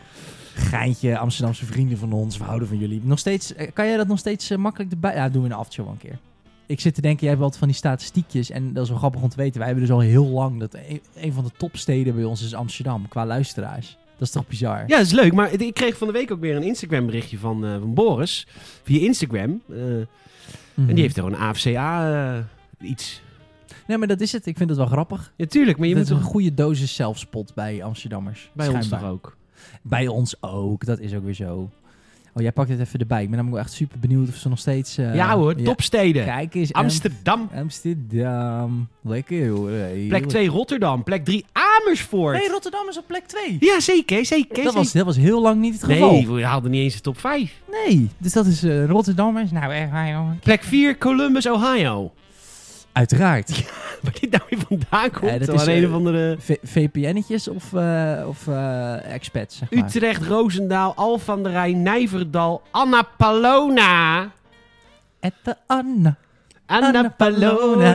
B: geintje Amsterdamse vrienden van ons. We houden van jullie. Nog steeds, eh, kan jij dat nog steeds eh, makkelijk erbij? Ja, dat doen we in de aftershow wel een keer. Ik zit te denken, jij hebt altijd van die statistiekjes. En dat is wel grappig om te weten. Wij hebben dus al heel lang dat een, een van de topsteden bij ons is Amsterdam. Qua luisteraars. Dat is toch bizar?
A: Ja, dat is leuk. Maar het- ik kreeg van de week ook weer een Instagram berichtje van, eh, van Boris. Via Instagram. eh,
B: Mhm.
A: En die heeft er een AFCA eh, iets.
B: Nee, maar dat is het. Ik vind het wel grappig.
A: Ja, tuurlijk. Maar je
B: dat is
A: moet
B: een
A: toch
B: goede dosis zelfspot bij Amsterdammers.
A: bij ons
B: Schijnbaar.
A: toch ook.
B: Bij ons ook, dat is ook weer zo. Oh, jij pakt het even erbij. Ik ben namelijk wel echt super benieuwd of ze nog steeds... eh,
A: ja hoor, topsteden.
B: Kijk ehm, eens.
A: Amsterdam.
B: Am- Amsterdam. Lekker hoor. Hey,
A: Plek
B: joh.
A: 2 Rotterdam. Plek 3 Amersfoort.
B: Hey, Rotterdam is op plek 2.
A: ja, zeker. zeker
B: Dat was, dat was heel lang niet het geval.
A: Nee, we haalden niet eens de top 5.
B: Nee, Dus dat is eh, Rotterdam is... Nou,
C: Nou, echt waar, jongen.
A: Plek 4 Columbus, Ohio.
B: uiteraard.
A: Waar dit nou weer vandaan komt.
B: dat
A: dat
B: is,
A: is een
B: eh,
A: of andere...
B: V- VPN'etjes of, eh, of eh, expats, zeg maar.
A: Utrecht, Roosendaal, Alphen aan de Rijn, Nijverdal, Annapolona.
B: At the Anna.
A: Annapolona.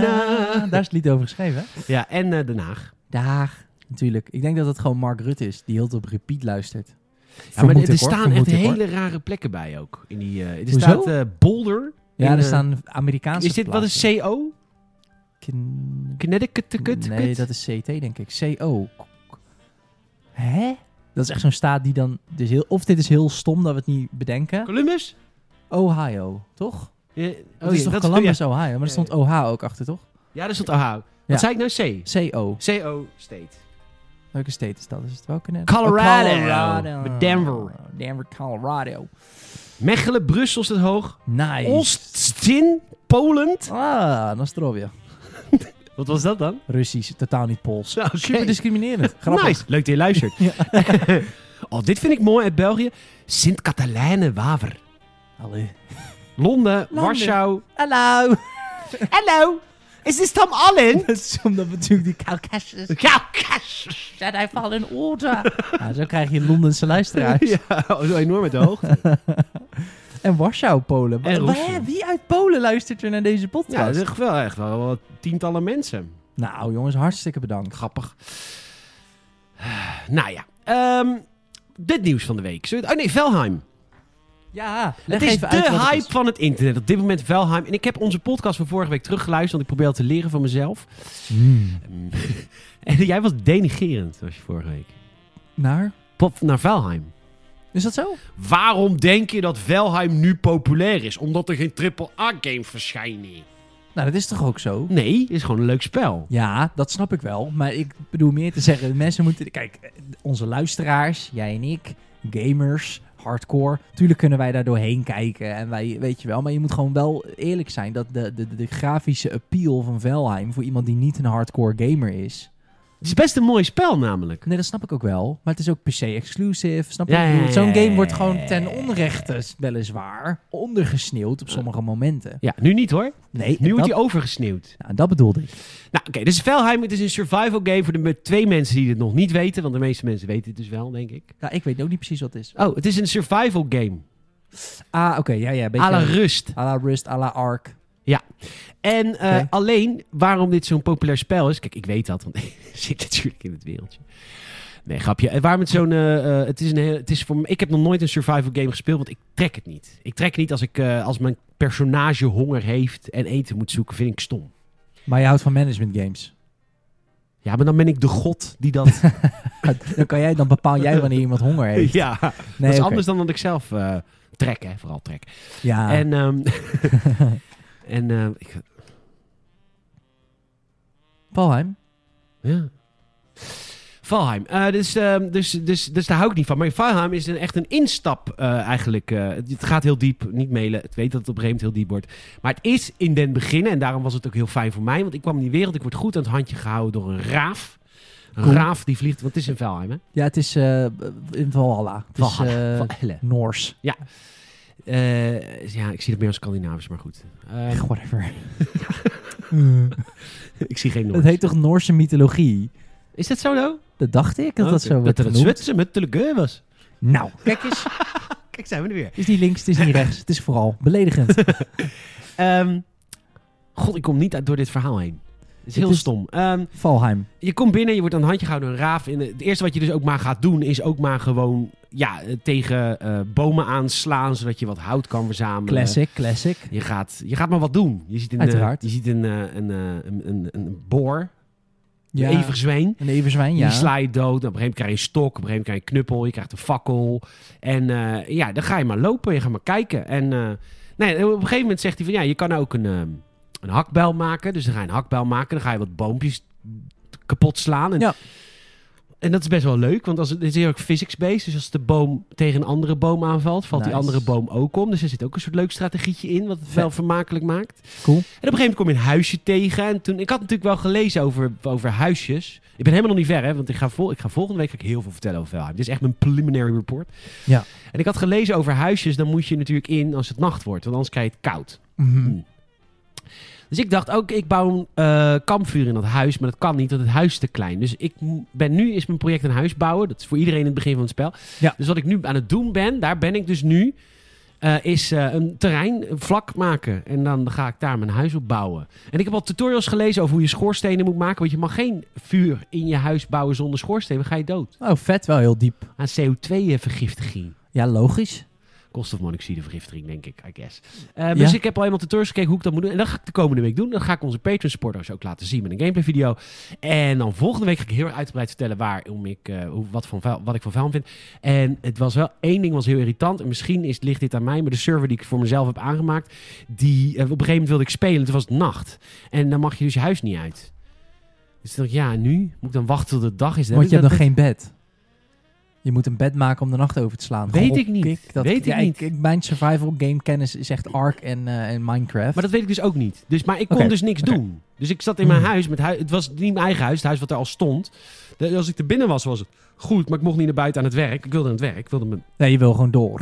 B: Daar is het lied over geschreven, hè?
A: Ja, en eh, Den Haag.
B: Daag. Natuurlijk. Ik denk dat dat gewoon Mark Rutte is, die heel op repeat luistert.
A: Ja, maar
B: Vermoed
A: er
B: ik, hoor.
A: staan echt
B: Vermoed ik, hoor.
A: hele rare plekken bij ook. In die, eh, er
B: Hoezo?
A: staat eh, Boulder.
B: Ja,
A: in,
B: er
A: eh,
B: staan Amerikaanse
A: Is dit wat is
B: plaatsen.
A: CO?
B: Kin-
A: Connecticut? kut, kut,
B: Nee,
A: kut?
B: dat is CT, denk ik. CO. Hè? Dat is echt zo'n staat die dan... Dus heel, of dit is heel stom dat we het niet bedenken.
A: Columbus?
B: Ohio, toch?
A: Ja,
B: Dat is
A: Oh, ja,
B: toch
A: dat
B: Columbus, Ohio? Maar er
A: Ja,
B: stond
A: ja.
B: OH ook achter, toch?
A: Ja, dat stond Ohio. Wat
B: Ja.
A: zei ik nou? C?
B: CO.
A: CO State.
B: Welke state is dat? Is het wel Connecticut?
A: Colorado.
B: Oh, Colorado.
A: Met Denver.
B: Denver, Colorado.
A: Mechelen, Brussel is het hoog.
B: Nice.
A: Oststin, Polen.
B: Ah, Nostrovia.
A: Wat was dat dan?
B: Russisch, totaal niet Pools.
A: Oké.
B: Super discriminerend. Grappig.
A: Nice, leuk dat je luistert. oh, dit vind ik mooi uit België. sint kathalijne waver
B: Allee.
A: Londen, Warschau.
B: Hallo.
A: Hallo, is dit Tom Allen?
B: Dat is omdat we natuurlijk die Caucasus
A: Kaukas.
C: Zet hij al in orde.
B: Ja, zo krijg je Londense luisteraars.
A: Ja, oh, zo enorm uit de hoogte.
B: En Warschau, Polen. Wa-
A: En
B: wa-
A: Rusland.
B: hè, Wie uit Polen luistert er naar deze
A: Ja, dat
B: podcast?
A: is echt wel, echt wel wat tientallen mensen.
B: nou jongens, hartstikke bedankt.
A: Grappig. Nou ja, ehm, dit nieuws van de week. Zullen we het- Oh nee, Velheim.
B: Ja, leg
A: Het is
B: even
A: de
B: uit wat het
A: hype
B: is.
A: van het internet. Op dit moment Velheim. En ik heb onze podcast van vorige week teruggeluisterd, want ik probeer al te leren van mezelf.
B: Hmm.
A: Mm. en jij was denigerend, was je vorige week.
B: Naar?
A: Pop naar Valheim.
B: Is dat zo?
A: Waarom denk je dat Valheim nu populair is? Omdat er geen AAA-game verschijnen.
B: Nou, dat is toch ook zo?
A: Nee, het is gewoon een leuk spel.
B: Ja, dat snap ik wel. Maar ik bedoel meer te zeggen, mensen moeten... Kijk, eh, onze luisteraars, jij en ik, gamers, hardcore. Tuurlijk kunnen wij daar doorheen kijken en wij, weet je wel. Maar je moet gewoon wel eerlijk zijn dat de, de, de grafische appeal van Valheim... voor iemand die niet een hardcore gamer is...
A: Het is best een mooi spel namelijk.
B: Nee, dat snap ik ook wel. Maar het is ook per se exclusive. Snap je?
A: Ja,
B: wat ik
A: ja,
B: bedoel?
A: ja,
B: Zo'n
A: ja,
B: game
A: ja,
B: wordt
A: ja,
B: gewoon
A: ja,
B: ten
A: ja, ja.
B: onrechte, weliswaar, ondergesneeuwd op sommige momenten.
A: Ja, nu niet hoor.
B: Nee,
A: Nu
B: en
A: wordt
B: dat,
A: hij overgesneeuwd.
B: nou, dat bedoelde ik.
A: Nou, oké, dus Valheim, het is een survival game voor de me- twee mensen die dit nog niet weten. Want de meeste mensen weten het dus wel, denk ik.
B: Nou, ik weet ook niet precies wat het is.
A: Oh, het is een survival game.
B: Ah, oké, ja, ja. Beetje
A: à la rust.
B: à la Rust, à la Ark.
A: En eh,
B: Oké.
A: alleen waarom dit zo'n populair spel is. Kijk, ik weet dat, want ik zit natuurlijk in het wereldje. Nee, grapje. En waarom het zo'n. eh, eh, het is een heel, het is voor me, ik heb nog nooit een survival game gespeeld, want ik trek het niet. Ik trek niet als, ik, eh, als mijn personage honger heeft en eten moet zoeken, vind ik stom.
B: Maar je houdt van management games.
A: Ja, maar dan ben ik de god die dat.
B: dan, kan jij, dan bepaal jij wanneer iemand honger heeft.
A: ja,
B: Nee,
A: dat is
B: oké.
A: anders dan dat ik zelf eh, trek, hè? Vooral trek.
B: Ja,
A: En. ehm, en. ehm, ik,
B: Valheim.
A: Ja. Valheim. Eh, dus, ehm, dus, dus, dus daar hou ik niet van. Maar Valheim is een, echt een instap eh, eigenlijk. eh, het, het gaat heel diep, niet mailen. Ik weet dat het op een gegeven moment heel diep wordt. Maar het is in den beginnen, en daarom was het ook heel fijn voor mij. Want ik kwam in die wereld, ik word goed aan het handje gehouden door een raaf. Een
B: Cool.
A: raaf die vliegt, want het is in Valheim hè?
B: Ja, het is eh, in Valhalla. Het is
A: Valhalla.
B: eh,
A: Valhalla.
B: Noors.
A: Eh, ja, ik zie het meer als Scandinavisch, maar goed. Eh,
B: Whatever.
A: ik zie geen
B: Het
A: Noord.
B: heet toch Noorse mythologie?
A: Is dat zo nou?
B: Dat dacht ik, dat dat
A: Oké.
B: zo
A: Dat
B: werd
A: er een
B: genoemd.
A: Zwitser met Telegeur was.
B: Nou, kijk eens.
A: Kijk, zijn we er weer.
B: Het is niet links, het is niet rechts. Het is vooral beledigend.
A: Ehm, God, ik kom niet uit door dit verhaal heen. Het is
B: Het
A: heel
B: is-
A: stom. Ehm,
B: Valheim.
A: je komt binnen, je wordt aan een handje gehouden door een raaf. En eh, het eerste wat je dus ook maar gaat doen, is ook maar gewoon ja, eh, tegen eh, bomen aanslaan, zodat je wat hout kan verzamelen.
B: Classic, classic.
A: Je gaat, je gaat maar wat doen. Je ziet een, eh,
B: Uiteraard.
A: je ziet een, eh, een, eh, een, een, een boor,
B: Ja,
A: een everzwijn.
B: een everzwijn, ja.
A: Die sla je dood. Op een gegeven moment krijg je een stok, op een gegeven moment krijg je een knuppel, je krijgt een fakkel. En eh, ja, dan ga je maar lopen, je gaat maar kijken. En eh, nee, op een gegeven moment zegt hij van ja, je kan ook een, ehm, een hakbijl maken. Dus dan ga je een hakbijl maken, dan ga je wat boompjes kapot slaan. En,
B: Ja.
A: en dat is best wel leuk, want als het, het is heel erg physics-based. Dus als de boom tegen een andere boom aanvalt, valt die
B: Nice.
A: andere boom ook om. Dus er zit ook een soort leuk strategietje in, wat het
B: Vet.
A: wel vermakelijk maakt.
B: Cool.
A: En op een gegeven moment kom je een huisje tegen. En toen, ik had natuurlijk wel gelezen over, over huisjes. Ik ben helemaal nog niet ver, hè, want ik ga, vol, ik ga volgende week ga ik heel veel vertellen over Valheim. Dit is echt mijn preliminary report.
B: Ja.
A: En ik had gelezen over huisjes, dan moet je natuurlijk in als het nacht wordt, want anders krijg je het koud.
B: Mhm.
A: Dus ik dacht ook, ik bouw een eh, kampvuur in dat huis, maar dat kan niet, want het huis is te klein. Dus ik mo- ben nu is mijn project een huis bouwen. Dat is voor iedereen in het begin van het spel.
B: Ja.
A: Dus wat ik nu aan het doen ben, daar ben ik dus nu, eh, is eh, een terrein vlak maken. En dan ga ik daar mijn huis op bouwen. En ik heb al tutorials gelezen over hoe je schoorstenen moet maken, want je mag geen vuur in je huis bouwen zonder schoorsteen, dan ga je dood.
B: Oh, vet, wel heel diep.
A: Aan CO2-vergiftiging.
B: Ja, logisch.
A: Kost of monoxidevergiftiging, denk ik, I guess. Eh, dus
B: Ja.
A: ik heb al helemaal tutorials gekeken hoe ik dat moet doen. En dat ga ik de komende week doen. Dan ga ik onze Patreon-supporters ook laten zien met een gameplay video. En dan volgende week ga ik heel erg uitgebreid vertellen waarom ik, eh, hoe, wat, van, vuil- wat ik van vuil vind. En het was wel, één ding was heel irritant. En misschien is, ligt dit aan mij, maar de server die ik voor mezelf heb aangemaakt, die, eh, op een gegeven moment wilde ik spelen. Toen was het nacht. En dan mag je dus je huis niet uit. Dus toen dacht ik, ja, en nu moet ik dan wachten tot het dag is.
B: Want je hebt
A: dus Dat-
B: nog geen bed. Je moet een bed maken om de nacht over te slaan.
A: Weet
B: Goh,
A: ik niet. Weet ik
B: ja,
A: niet.
B: ik- mijn survival game kennis is echt Ark en, eh, en Minecraft.
A: Maar dat weet ik dus ook niet. Dus, maar ik kon
B: Oké,
A: dus niks
B: oké.
A: doen. Dus ik zat in mijn
B: Hmm.
A: huis. Met hui- het was niet mijn eigen huis, het huis wat er al stond. De- als ik er binnen was, was het goed. Maar ik mocht niet naar buiten aan het werk. Ik wilde aan het werk. Ik wilde mijn...
B: Nee, je wil gewoon door.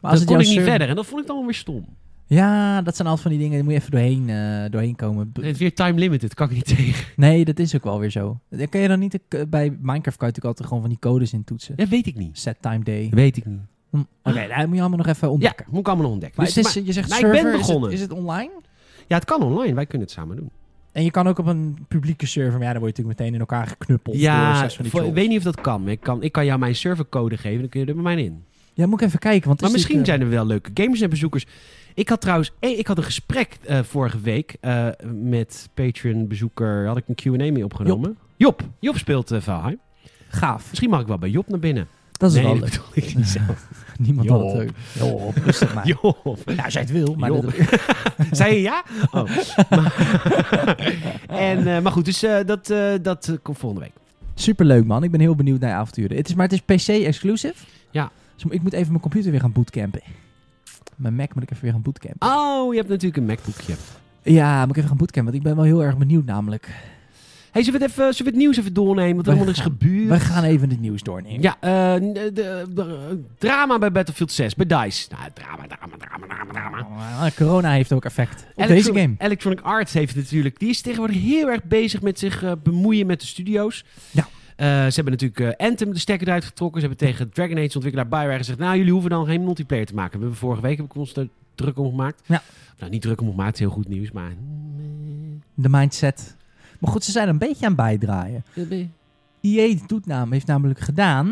B: Maar
A: Dan kon
B: jouw
A: ik niet
B: server-
A: verder. En dat vond ik dan wel weer stom.
B: Ja, dat zijn altijd van die dingen. Daar moet je even doorheen, eh, doorheen komen. B-
A: Het is weer time limited. Kan ik niet tegen.
B: Nee, dat is ook wel weer zo. Dan Kan je dan niet... de- Bij Minecraft kan je natuurlijk altijd gewoon van die codes in toetsen.
A: Dat weet ik niet.
B: Set time day.
A: Dat weet ik niet.
B: Hm. Oké, daar moet je allemaal nog even
A: Ah. Ja,
B: ontdekken.
A: moet ik allemaal nog ontdekken.
B: Maar,
A: Dus-
B: het is, je zegt
A: maar ik ben
B: server, is het-
A: begonnen.
B: Is, het, online?
A: ja, het kan online. Wij kunnen het samen doen.
B: En je kan ook op een publieke server, maar ja, dan word je natuurlijk meteen in elkaar geknuppeld. door
A: ja,
B: zes van die
A: voor- ik
B: trolls.
A: weet niet of dat kan. Ik kan, ik kan jou mijn servercode geven. Dan kun je er bij mij in.
B: Ja, moet ik even kijken, want het
A: Maar
B: is eh,
A: misschien
B: natuurlijk,
A: zijn er wel leuke gamers en bezoekers. Ik had trouwens eh, ik had een gesprek eh, vorige week eh, met Patreon-bezoeker. Had ik een Q&A mee opgenomen. Job. Job, speelt eh Valheim.
B: eh, gaaf.
A: Misschien mag ik wel bij Job naar binnen.
B: Dat is
A: nee,
B: wel
A: dat
B: leuk.
A: bedoel ik niet zelf.
B: Niemand had het
A: Joop.
B: leuk. Joop, rustig maar.
A: Job.
B: Nou, zij het wil, maar...
A: Joop.
B: dat-
A: Zei je ja? Oh. Maar- en, eh, maar goed, dus eh, dat, eh, dat eh, komt volgende week.
B: Superleuk, man. Ik ben heel benieuwd naar je avonturen. Het is, maar het is PC-exclusive.
A: Ja.
B: Dus ik moet even mijn computer weer gaan bootcampen. Mijn Mac moet ik even weer gaan bootcampen.
A: Oh, je hebt natuurlijk een MacBookje.
B: Ja, moet ik even gaan bootcampen, want ik ben wel heel erg benieuwd namelijk.
A: Hey, zullen we, het even, zullen we het nieuws even doornemen? Wat er
B: Wij
A: allemaal is
B: gaan-
A: gebeurd?
B: We gaan even het nieuws doornemen.
A: Ja, eh, n- de, de- drama bij Battlefield 6, bij DICE. Nou, drama, drama, drama, drama, drama.
B: Ah, Corona heeft ook effect op
A: Electro-
B: deze game.
A: Electronic Arts heeft natuurlijk... Die is tegenwoordig heel erg bezig met zich eh, bemoeien met de studio's.
B: Ja.
A: Eh, ze hebben natuurlijk eh, Anthem de stekker eruit getrokken. Ze hebben tegen Dragon Age ontwikkelaar Bioware gezegd... Nou, jullie hoeven dan geen multiplayer te maken. We hebben vorige week heb ik ons er druk om gemaakt.
B: Ja.
A: Of Nou, niet druk om gemaakt. Het is heel goed nieuws, maar...
B: De mindset. Maar goed, ze zijn er een beetje aan het bijdraaien. EA doet nam, E heeft namelijk gedaan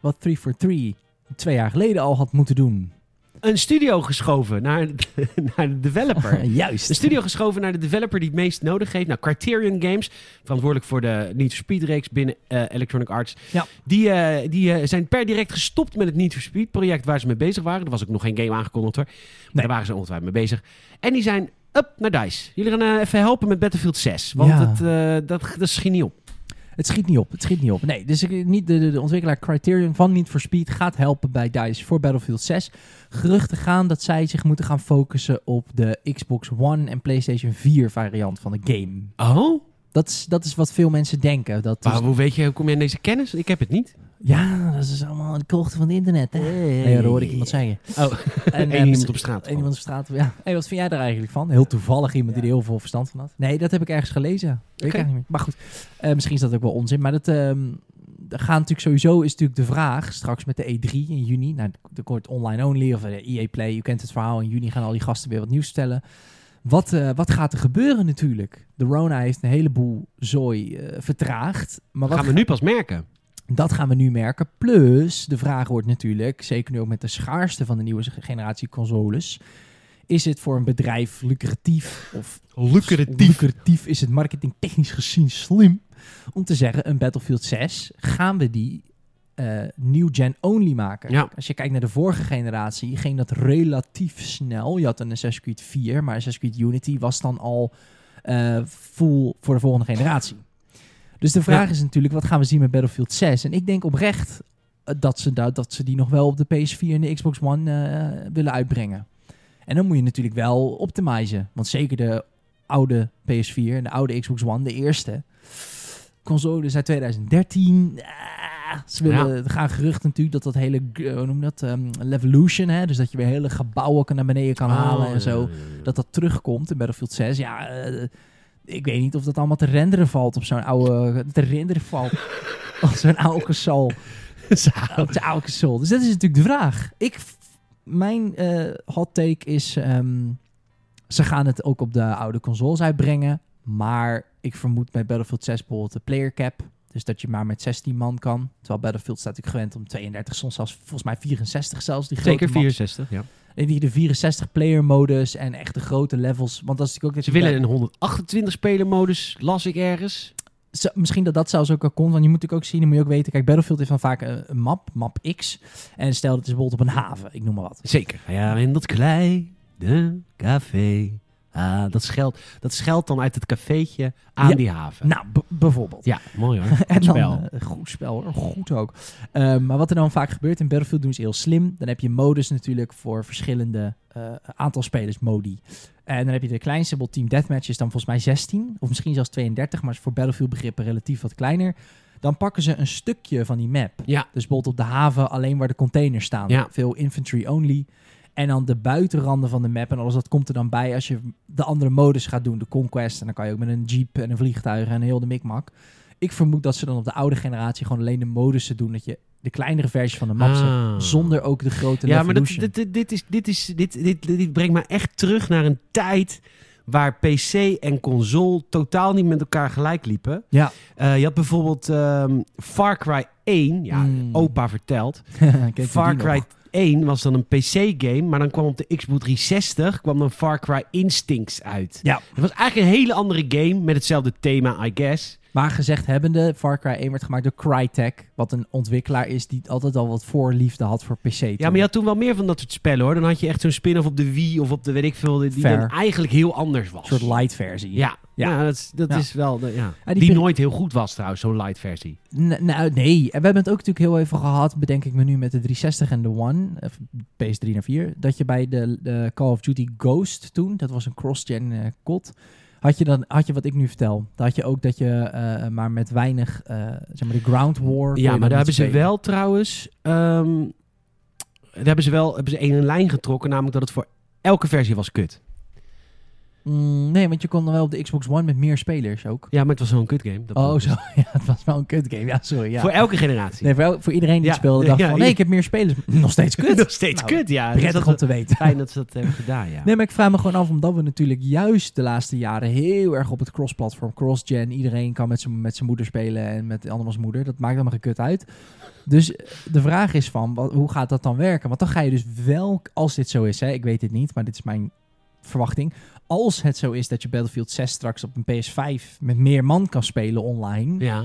B: wat 343 twee jaar geleden al had moeten doen.
A: Een studio geschoven naar, naar de developer.
B: Juist.
A: De studio geschoven naar de developer die het meest nodig heeft. Nou, Criterion Games, verantwoordelijk voor de Need for Speed reeks binnen eh, Electronic Arts.
B: Ja.
A: Die, eh, die eh, zijn per direct gestopt met het Need for Speed project waar ze mee bezig waren. Er was ook nog geen game aangekondigd hoor. Maar
B: Nee.
A: daar waren ze ongetwijfeld mee bezig. En die zijn up naar DICE. Jullie gaan eh, even helpen met Battlefield 6. Want
B: Ja.
A: het, eh, dat, dat schiet niet op.
B: Het schiet niet op, het schiet niet op. Nee, dus ik- niet de, de, de ontwikkelaar Criterion van Need for Speed gaat helpen bij DICE voor Battlefield 6. Geruchten gaan dat zij zich moeten gaan focussen op de Xbox One en PlayStation 4 variant van de game.
A: Oh?
B: Dat is, dat is wat veel mensen denken. Dat is-
A: Maar hoe weet je, hoe kom je aan deze kennis? Ik heb het niet.
B: ja, dat is allemaal de kochten van het internet. Hè? Nee, dat hoorde ik iemand zeggen.
A: Oh,
B: En, eh,
A: één iemand op straat.
B: Eén iemand op straat. Ja. Hey, wat vind jij daar eigenlijk van? Heel toevallig iemand die er heel veel verstand van had. Nee, dat heb ik ergens gelezen. Weet ik
A: Oké.
B: eigenlijk niet meer. Maar goed, eh, misschien is dat ook wel onzin. Maar dat ehm er gaan natuurlijk sowieso is natuurlijk de vraag straks met de E3 in juni. Nou, de kort online only of de EA Play. U kent het verhaal. In juni gaan al die gasten weer wat nieuws vertellen. Wat, eh, wat gaat er gebeuren natuurlijk? De Rona heeft een heleboel zooi eh, vertraagd.
A: Dat
B: Maar wat
A: gaan we nu pas merken.
B: Dat gaan we nu merken. Plus, de vraag wordt natuurlijk, zeker nu ook met de schaarste van de nieuwe generatie consoles, is het voor een bedrijf lucratief of lucratief is het marketingtechnisch gezien slim om te zeggen: een Battlefield 6 gaan we die eh, new gen only maken.
A: Ja.
B: Als je kijkt naar de vorige generatie, ging dat relatief snel. Je had een Assassin's Creed 4, maar Assassin's Creed Unity was dan al eh, full voor de volgende generatie. Dus de vraag is natuurlijk, wat gaan we zien met Battlefield 6? En ik denk oprecht eh, dat ze, da- dat ze die nog wel op de PS4 en de Xbox One eh, willen uitbrengen. En dan moet je natuurlijk wel optimizen. Want zeker de oude PS4 en de oude Xbox One, de eerste. Consoles uit 2013. Ah, ze willen, Er gaan geruchten natuurlijk dat dat hele, eh, hoe noem je dat, ehm Levolution, hè? dus dat je weer hele gebouwen kan- naar beneden
A: Oh,
B: kan halen en zo
A: Hmm.
B: dat dat terugkomt in Battlefield 6. Ja, eh, ik weet niet of dat allemaal te renderen valt op zo'n oude... Te renderen valt op zo'n oude console. Op de oude console. Dus dat is natuurlijk de vraag. Ik, f- mijn eh, hot take is... ehm, ze gaan het ook op de oude consoles uitbrengen. Maar ik vermoed bij Battlefield 6 bijvoorbeeld de player cap. Dus dat je maar met 16 man kan. Terwijl Battlefield staat natuurlijk gewend om 32, soms zelfs volgens mij 64 zelfs. Die grote
A: Zeker
B: maps.
A: 64, ja.
B: En die de 64 player modus en echt de grote levels. Want dat is natuurlijk ook dat
A: Ze
B: je
A: willen
B: bij-
A: een 128 speler modus, las ik ergens.
B: Zo- misschien dat dat zelfs ook al kon. Want je moet natuurlijk ook zien, dan moet je ook weten. Kijk, Battlefield is van vaak een, een map, map X. En stel dat is bijvoorbeeld op een haven, ik noem maar wat.
A: Zeker. Ja, in dat kleine café. Ah, dat scheldt dat scheldt dan uit het cafeetje aan
B: Ja.
A: die haven.
B: Nou, b- bijvoorbeeld.
A: Ja, mooi hoor.
B: En
A: Goed
B: dan,
A: spel.
B: eh, goed spel, hoor. goed ook. Eh, maar wat er dan vaak gebeurt in Battlefield doen ze heel slim. Dan heb je modus natuurlijk voor verschillende eh, aantal spelers modi. En dan heb je de kleinste, bijvoorbeeld Team Deathmatch is dan volgens mij 16 of misschien zelfs 32, maar is voor Battlefield begrippen relatief wat kleiner. Dan pakken ze een stukje van die map.
A: Ja.
B: Dus bijvoorbeeld op de haven alleen waar de containers staan.
A: Ja.
B: Veel infantry only. En dan de buitenranden van de map en alles dat komt er dan bij als je de andere modus gaat doen. De conquest en dan kan je ook met een jeep en een vliegtuig en heel de mikmak. Ik vermoed dat ze dan op de oude generatie gewoon alleen de modussen doen. Dat je de kleinere versie van de map zet.
A: Ah.
B: Zonder ook de grote
A: Ja, maar dat,
B: Levolution.
A: dit- dit, dit, is, dit, is, dit, dit, dit, dit brengt me echt terug naar een tijd waar PC en console totaal niet met elkaar gelijk liepen.
B: Ja.
A: Eh, je had bijvoorbeeld ehm, Far Cry 1, ja,
B: Mm.
A: opa vertelt.
B: Kijk, die
A: Far
B: nog.
A: Cry 1 was dan een PC-game, maar dan kwam op de Xbox 360 kwam dan Far Cry Instincts uit.
B: Ja.
A: Het was eigenlijk een hele andere game met hetzelfde thema, I guess.
B: Maar gezegd hebbende, Far Cry 1 werd gemaakt door Crytek. Wat een ontwikkelaar is die altijd al wat voorliefde had voor PC.
A: Ja, maar je had toen wel meer van dat soort spellen hoor. Dan had je echt zo'n spin-off op de Wii of op de weet ik veel, die
B: Fair.
A: dan eigenlijk heel anders
B: Een
A: was.
B: soort light versie.
A: Ja, ja.
B: Ja.
A: dat, is- dat
B: Ja.
A: is wel. de- ja.
B: Ja,
A: die
B: die-
A: nooit heel goed was trouwens, zo'n light versie.
B: N- nou, nee. En we hebben het ook natuurlijk heel even gehad, bedenk ik me nu, met de 360 en de One, of PS3 naar 4, dat je bij de, de Call of Duty Ghost toen, dat was een cross-gen eh, COD, had je, dan, had je wat ik nu vertel. Dan had je ook dat je eh, maar met weinig, eh, zeg maar de ground war... kon je
A: Ja,
B: dan
A: maar daar hebben
B: niet
A: ze
B: spelen.
A: wel trouwens. ehm, daar hebben ze wel hebben ze één lijn getrokken, namelijk dat het voor elke versie was kut.
B: Mm, nee, want je kon dan wel op de Xbox One met meer spelers ook.
A: Ja, maar het was zo'n kut game.
B: oh, zo. Ja, het was wel een kutgame. Ja, sorry. Ja.
A: Voor elke generatie.
B: nee, voor, el- voor iedereen die
A: Ja,
B: speelde
A: ja,
B: dacht
A: ja,
B: van,
A: ja.
B: nee, ik heb meer spelers. Nog steeds kut.
A: Nog steeds
B: Nou,
A: kut, ja. Dus
B: Prettig
A: dat
B: om
A: was
B: te weten.
A: fijn dat ze dat hebben gedaan, ja.
B: Nee, maar ik vraag me gewoon af, omdat we natuurlijk juist de laatste jaren heel erg op het cross-platform, cross-gen, iedereen kan met zijn met zijn moeder spelen en met andermans moeder. Dat maakt allemaal gekut uit. Dus de vraag is van, wat, hoe gaat dat dan werken? Want dan ga je dus wel, als dit zo is, hè, ik weet het niet, maar dit is mijn verwachting. Als het zo is dat je Battlefield 6 straks op een PS5 met meer man kan spelen online,
A: Ja.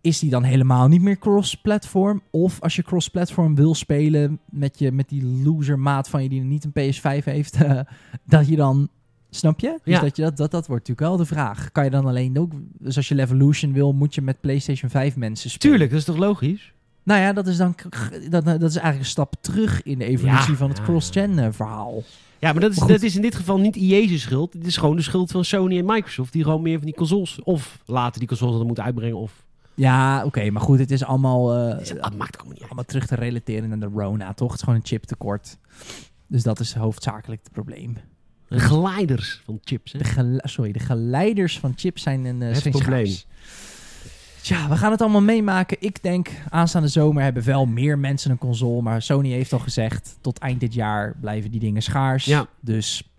B: is die dan helemaal niet meer cross-platform? Of als je cross-platform wil spelen met, je, met die loser maat van je die niet een PS5 heeft, eh, dat je dan, snap je? Dus
A: Ja.
B: dat, je dat, dat, dat wordt natuurlijk wel de vraag. Kan je dan alleen ook, dus als je Levolution wil, moet je met PlayStation 5 mensen spelen?
A: Tuurlijk, dat is toch logisch?
B: Nou ja, dat is dan, k- k- dat, dat is eigenlijk een stap terug in de evolutie
A: Ja.
B: van het
A: Ja,
B: cross-gen eh, verhaal.
A: Ja, maar dat is,
B: Maar goed.
A: dat is in dit geval niet IE's schuld. Dit is gewoon de schuld van Sony en Microsoft, die gewoon meer van die consoles... of later die consoles dan moeten uitbrengen, of...
B: Ja, oké, maar goed, het is allemaal, eh,
A: Dat maakt allemaal niet uit.
B: allemaal terug te relateren naar de Rona, toch? Het is gewoon een chiptekort. Dus dat is hoofdzakelijk het probleem.
A: De Glijders van chips, hè?
B: De gele- sorry, de geleiders van chips zijn een eh
A: Het
B: zijn
A: probleem.
B: schaars. Tja, we gaan het allemaal meemaken. Ik denk, aanstaande zomer hebben wel meer mensen een console. Maar Sony heeft al gezegd, tot eind dit jaar blijven die dingen schaars.
A: Ja.
B: Dus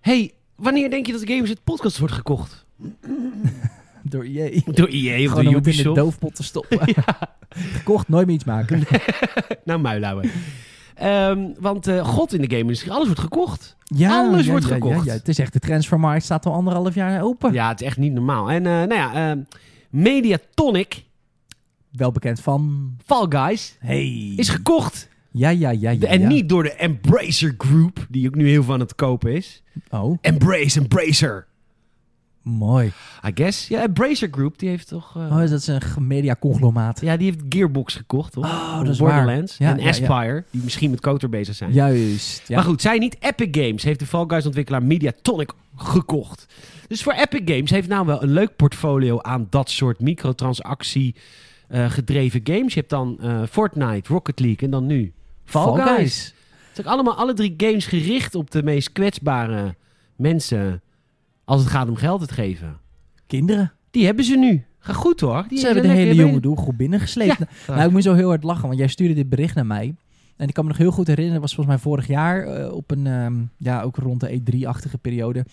A: hey, wanneer denk je dat Games het podcast wordt gekocht?
B: dat door IE.
A: Door EA of
B: Gewoon
A: door
B: om het in de
A: Ubisoft.
B: doofpot te stoppen. Gekocht, nooit meer iets maken.
A: Nou, muilhouden. Ehm, want eh, god, in de game-industrie, alles wordt gekocht.
B: Ja,
A: Alles wordt gekocht.
B: Het is echt, de transfermarkt staat al anderhalf jaar open.
A: Ja, het is echt niet normaal. En eh, nou ja, ehm, Mediatonic,
B: Wel bekend van...
A: Fall Guys,
B: Hey.
A: is gekocht.
B: Ja, ja, ja, ja.
A: De- en
B: ja.
A: niet door de Embracer Group, die ook nu heel van het kopen is.
B: Oh,
A: Embrace, Embracer.
B: mooi.
A: I guess. Ja, Embracer Group, die heeft toch... eh,
B: Oh, is dat is een g- mediaconglomeraat.
A: Ja, die heeft Gearbox gekocht, toch?
B: Oh,
A: Van
B: dat is waar.
A: Borderlands.
B: Ja,
A: en
B: ja, ja.
A: Aspire, die misschien met Kotor bezig zijn.
B: Juist. Ja.
A: Maar goed, zij niet. Epic Games heeft de Fall Guys ontwikkelaar Mediatonic gekocht. Dus voor Epic Games heeft nou wel een leuk portfolio aan dat soort microtransactie eh, gedreven games. Je hebt dan eh, Fortnite, Rocket League en dan nu Fall,
B: Fall
A: Guys.
B: Guys.
A: Het zijn ook allemaal alle drie games gericht op de meest kwetsbare mensen als het gaat om geld het geven.
B: Kinderen.
A: Die hebben ze nu. Ga goed hoor. Die
B: Ze hebben de
A: lekker
B: hele
A: binnen.
B: jonge doelgroep binnengesleept.
A: Ja.
B: Nou, ik moet zo heel hard lachen, want jij stuurde dit bericht naar mij. En ik kan me nog heel goed herinneren, dat was volgens mij vorig jaar eh, op een, ehm, ja, ook rond de E3-achtige periode.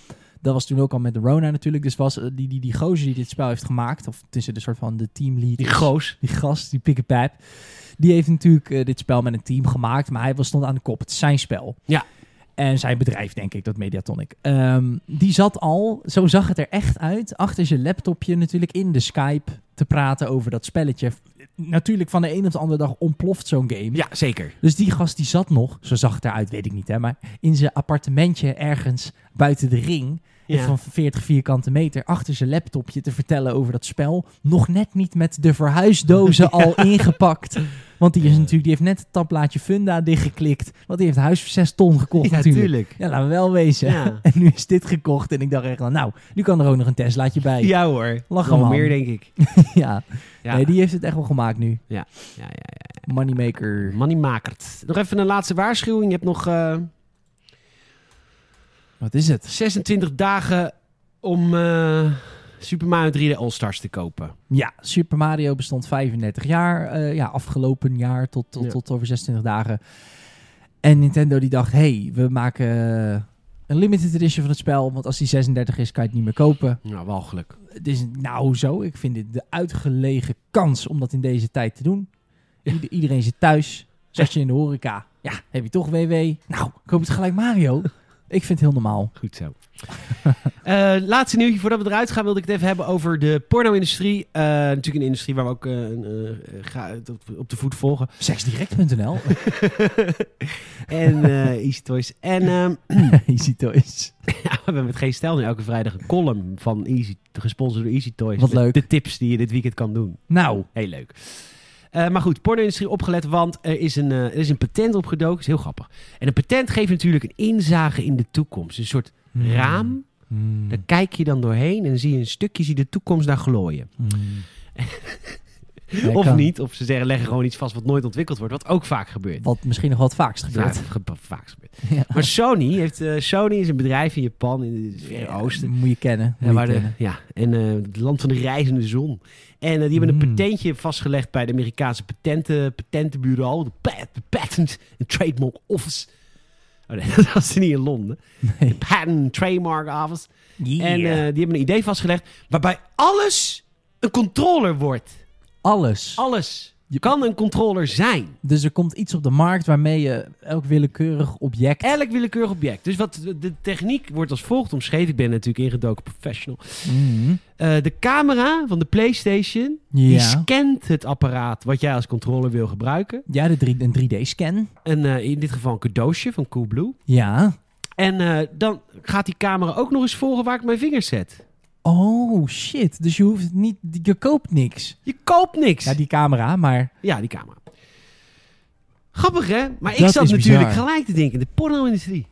B: Dat was toen ook al met de Rona natuurlijk. Dus was eh, die, die, die gozer die dit spel heeft gemaakt, of tussen de soort van de teamlead.
A: Die goos.
B: Die gast, die pikkenpijp. Die heeft natuurlijk eh, dit spel met een team gemaakt, maar hij was, stond aan de kop. Het is zijn spel.
A: Ja.
B: En zijn bedrijf, denk ik, dat Mediatonic. Ehm, die zat al, zo zag het er echt uit, achter zijn laptopje natuurlijk in de Skype te praten over dat spelletje. Natuurlijk van de een op de andere dag ontploft zo'n game.
A: Ja, zeker.
B: Dus die gast die zat nog, zo zag het eruit, weet ik niet hè, maar in zijn appartementje ergens buiten de ring
A: Ja.
B: van 40 vierkante meter achter zijn laptopje te vertellen over dat spel. Nog net niet met de verhuisdozen al ingepakt. Want die, is
A: Ja.
B: natuurlijk, die heeft net het tabblaadje Funda dichtgeklikt. Want die heeft het huis voor 6 ton gekocht
A: Ja,
B: natuurlijk.
A: tuurlijk.
B: Ja, laten we wel wezen.
A: Ja.
B: En nu is dit gekocht en ik dacht echt, wel, nou, nu kan er ook nog een Teslaatje bij. Ja,
A: Ja hoor.
B: Lachen,
A: Nog
B: man.
A: meer denk ik. Ja.
B: Nee, die heeft het echt wel gemaakt nu.
A: ja, ja.
B: Moneymaker.
A: Money makert. Nog even een laatste waarschuwing. Je hebt nog eh,
B: Wat is het?
A: 26 dagen om eh, Super Mario 3 de All-Stars te kopen.
B: Ja, Super Mario bestond 35 jaar. eh, ja, afgelopen jaar tot, tot,
A: Ja.
B: tot over 26 dagen. En Nintendo die dacht, hey, we maken eh, een limited edition van het spel. Want als die 36 is, kan je het niet meer kopen.
A: Nou, walgelijk.
B: Het is nou zo. Ik vind dit de uitgelegen kans om dat in deze tijd te doen. Ieder- iedereen zit thuis. Zat je in de horeca. Ja, heb je toch WW? Nou, koop het gelijk Mario. Ik vind het heel normaal.
A: Goed zo. Eh, laatste nieuwtje voordat we eruit gaan, wilde ik het even hebben over de porno-industrie. Eh, natuurlijk een industrie waar we ook eh, eh, ga- op- op de voet volgen.
B: Seksdirect.nl.
A: en eh Easy Toys. En ehm,
B: Easy Toys.
A: Ja, we hebben met geen stijl nu elke vrijdag een column van Easy, gesponsord door Easy Toys.
B: Wat
A: De-
B: leuk.
A: De tips die je dit weekend kan doen.
B: Nou.
A: Heel leuk. Eh, maar goed, porno-industrie opgelet, want er is, een, eh, er is een patent opgedoken. is heel grappig. En een patent geeft natuurlijk een inzage in de toekomst. Een soort raam.
B: Hmm.
A: Daar kijk je dan doorheen en zie je een stukje zie je de toekomst daar glooien.
B: Hmm.
A: of
B: kan.
A: niet. Of ze zeggen, leggen gewoon iets vast wat nooit ontwikkeld wordt. Wat ook vaak gebeurt.
B: Wat misschien nog wel het vaakst gebeurt.
A: Vaak, ge- vaak gebeurt.
B: Ja.
A: Maar Sony, heeft, eh, Sony is een bedrijf in Japan, in het Verre Oosten.
B: Moet je kennen.
A: Mm.
B: Moet
A: Ja,
B: je
A: waar de,
B: kennen.
A: ja, en eh, het land van de reizende zon. En eh, die hebben een
B: Mm.
A: patentje vastgelegd bij de Amerikaanse patenten, patentenbureau. De, pa- de Patent and Trademark Office. Oh nee, dat was niet in Londen.
B: Nee.
A: Patent and Trademark Office. En eh,
B: En, eh,
A: die hebben een idee vastgelegd waarbij alles een controller wordt.
B: alles.
A: Alles. Je kan een controller zijn.
B: Dus er komt iets op de markt waarmee je elk willekeurig object...
A: Elk willekeurig object. Dus wat de techniek wordt als volgt omschreven. Ik ben natuurlijk ingedoken professional.
B: Mhm.
A: Eh, de camera van de PlayStation Die
B: ja.
A: scant het apparaat wat jij als controller wil gebruiken.
B: ja, de drie, een 3D-scan.
A: En eh, in dit geval een cadeautje van Coolblue.
B: Ja.
A: En eh, dan gaat die camera ook nog eens volgen waar ik mijn vingers zet.
B: Oh, shit. Dus je hoeft niet... Je koopt niks.
A: Je koopt niks.
B: Ja, die camera, maar...
A: camera. Grappig, hè? Maar ik
B: Dat
A: zat
B: is
A: natuurlijk
B: bizar.
A: gelijk te denken, de porno-industrie.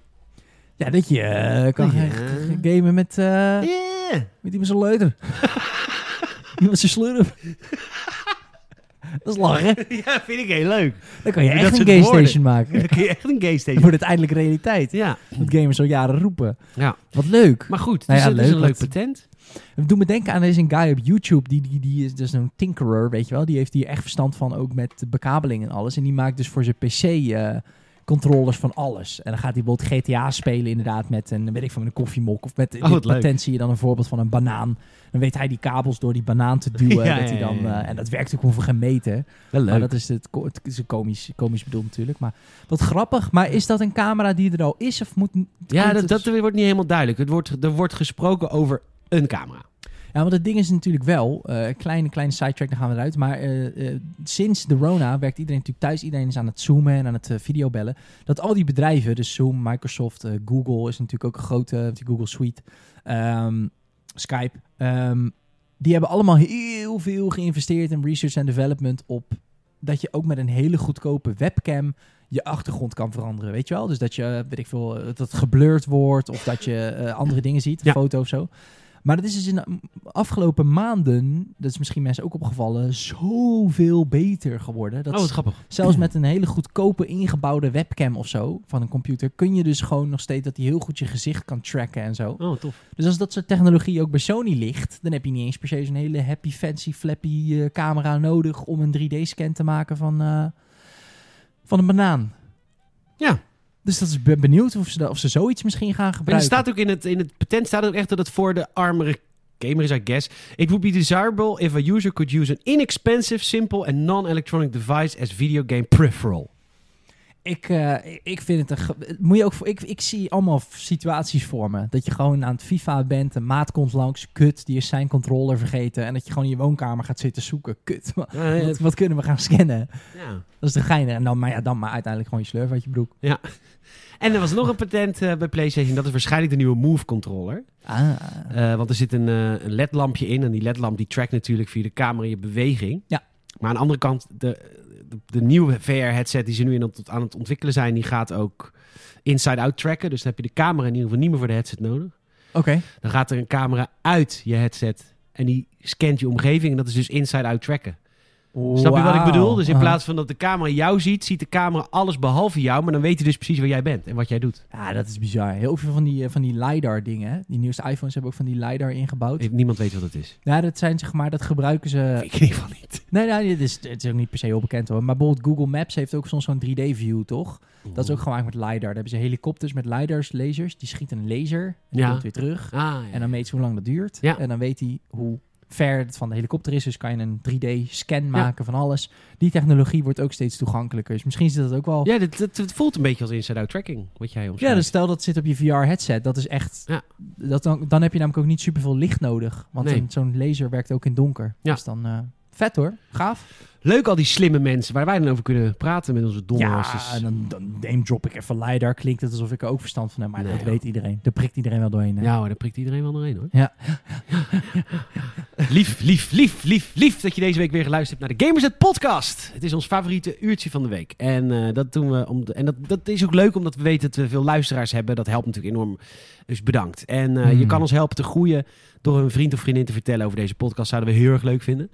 B: Ja, dat je eh, kan
A: Ja.
B: gaan gaan gamen met, eh,
A: Yeah.
B: met iemand zijn leuter. iemand zijn slurp. dat is lachen.
A: Ja, vind ik heel leuk.
B: Dan kan je
A: Dat
B: echt een
A: soort
B: game
A: woorden.
B: station maken.
A: Dan kun je echt een game
B: Dan
A: station.
B: wordt het eindelijk realiteit.
A: Ja,
B: Dat gamers al jaren roepen.
A: Ja.
B: Wat leuk.
A: maar goed, dus
B: Nou ja,
A: dat is
B: leuk,
A: een leuk
B: want-
A: patent.
B: Het doet me denken aan er is een guy op YouTube. Die, die, die is dus een tinkerer, weet je wel. Die heeft hier echt verstand van ook met de bekabeling en alles. En die maakt dus voor zijn PC eh, controllers van alles. En dan gaat hij bijvoorbeeld GTA spelen inderdaad met een, weet ik van, een koffiemok. Of met
A: Oh, wat
B: dit
A: leuk.
B: patent zie je dan een voorbeeld van een banaan. Dan weet hij die kabels door die banaan te duwen.
A: Ja,
B: dat
A: ja,
B: hij dan,
A: ja, ja.
B: eh, en dat werkt ook ongeveer geen meter.
A: Wel
B: Maar
A: leuk.
B: dat is, het, ko- het is een komisch, komisch bedoeld natuurlijk. Maar wat grappig. Maar is dat een camera die er al is? Of moet,
A: ja,
B: komt
A: dat,
B: het-
A: dat wordt niet helemaal duidelijk. Het wordt, er wordt gesproken over een camera.
B: Ja, want het ding is natuurlijk wel, eh kleine, kleine sidetrack, dan gaan we eruit. Maar eh, eh, sinds de Rona werkt iedereen natuurlijk thuis. Iedereen is aan het zoomen en aan het eh, videobellen. Dat al die bedrijven, dus Zoom, Microsoft, eh, Google is natuurlijk ook een grote, eh, die Google Suite, ehm, Skype. ehm, die hebben allemaal heel veel geïnvesteerd in research en development op dat je ook met een hele goedkope webcam je achtergrond kan veranderen, weet je wel? Dus dat je, eh, weet ik veel, eh, dat het geblurred wordt of dat je eh, andere dingen ziet,
A: Ja.
B: foto of zo. Maar dat is dus in de afgelopen maanden, dat is misschien mensen ook opgevallen, zoveel beter geworden. Dat
A: oh, wat grappig.
B: zelfs met een hele goedkope ingebouwde webcam of zo van een computer, kun je dus gewoon nog steeds dat die heel goed je gezicht kan tracken en zo.
A: Oh, tof.
B: Dus als dat soort technologie ook bij Sony ligt, dan heb je niet eens per se zo'n hele happy, fancy, flappy eh, camera nodig om een 3D-scan te maken van, eh, van een banaan.
A: Ja.
B: Dus dat is ben benieuwd of ze, da- of ze zoiets misschien gaan
A: En er
B: gebruiken.
A: staat ook in het, in het patent staat ook echt dat het voor de armere gamer is, I guess. It would be desirable if a user could use an inexpensive, simple and non-electronic device as video game peripheral.
B: Ik, eh, ik vind het een. ge- Moet je ook, voor- ik, ik zie allemaal f- situaties voor me. Dat je gewoon aan het FIFA bent, een maat komt langs, kut, die is zijn controller vergeten. En dat je gewoon in je woonkamer gaat zitten zoeken, kut. Wat,
A: Ja, ja,
B: wat- wat kunnen we gaan scannen?
A: ja.
B: Dat is de gein. En dan, maar ja, dan maar uiteindelijk gewoon je slurf uit je broek.
A: En er was nog een patent eh, bij PlayStation. Dat is waarschijnlijk de nieuwe Move controller.
B: Ah.
A: Eh, want er zit een, eh, een ledlampje in. En die ledlamp die trackt natuurlijk via de camera je beweging.
B: Ja.
A: Maar aan de andere kant, de, de, de nieuwe VR-headset die ze nu in het- aan het ontwikkelen zijn, die gaat ook inside-out tracken. Dus dan heb je de camera in ieder geval niet meer voor de headset nodig.
B: Oké.
A: Dan gaat er een camera uit je headset. En die scant je omgeving. En dat is dus inside-out tracken. Snap je wat ik bedoel? Dus in plaats van dat de camera jou ziet, ziet de camera alles behalve jou. Maar dan weet hij dus precies waar jij bent en wat jij doet.
B: Ja, dat is bizar. Heel veel van die, eh, van die LiDAR-dingen. Die nieuwste iPhones hebben ook van die LiDAR ingebouwd.
A: Niemand weet wat het is.
B: Ja, dat zijn zeg maar, dat gebruiken ze.
A: Ik in ieder geval niet.
B: Nee, nee, dit is, het is ook niet per se heel bekend hoor. Maar bijvoorbeeld Google Maps heeft ook soms zo'n 3D-view, toch? Dat is ook gewoon eigenlijk met LiDAR. Daar hebben ze helikopters met LiDAR's, lasers. Die schieten een laser. En die
A: Ja.
B: komt weer terug.
A: Ah, ja.
B: En dan meet ze hoe lang dat duurt.
A: Ja.
B: En dan weet hij hoe ver het van de helikopter is. Dus kan je een 3D-scan maken van alles. Die technologie wordt ook steeds toegankelijker. Dus misschien is dat ook wel...
A: Ja, dat, dat, dat voelt een beetje als inside-out tracking, wat jij omschrijft.
B: Ja, dus stel dat zit op je VR-headset. Dat is echt.
A: Ja.
B: Dat dan, dan heb je namelijk ook niet superveel licht nodig. Want
A: Nee.
B: een- zo'n laser werkt ook in donker.
A: Ja.
B: Dus dan. eh, vet hoor. Gaaf.
A: Leuk al die slimme mensen waar wij dan over kunnen praten met onze domme
B: ja, en dan, dan name drop ik even LiDAR. Klinkt het alsof ik er ook verstand van heb. Maar
A: Nee,
B: dat
A: joh.
B: weet iedereen. Daar prikt iedereen wel doorheen. hè.
A: Ja hoor, daar prikt iedereen wel doorheen hoor.
B: Ja.
A: lief, lief, lief, lief, lief dat je deze week weer geluisterd hebt naar de Gamers Net podcast. Het is ons favoriete uurtje van de week. En, eh, dat, doen we om de- en dat, dat is ook leuk omdat we weten dat we veel luisteraars hebben. Dat helpt natuurlijk enorm. Dus bedankt. En eh, je
B: Mm.
A: kan ons helpen te groeien door een vriend of vriendin te vertellen over deze podcast. Zouden we heel erg leuk vinden.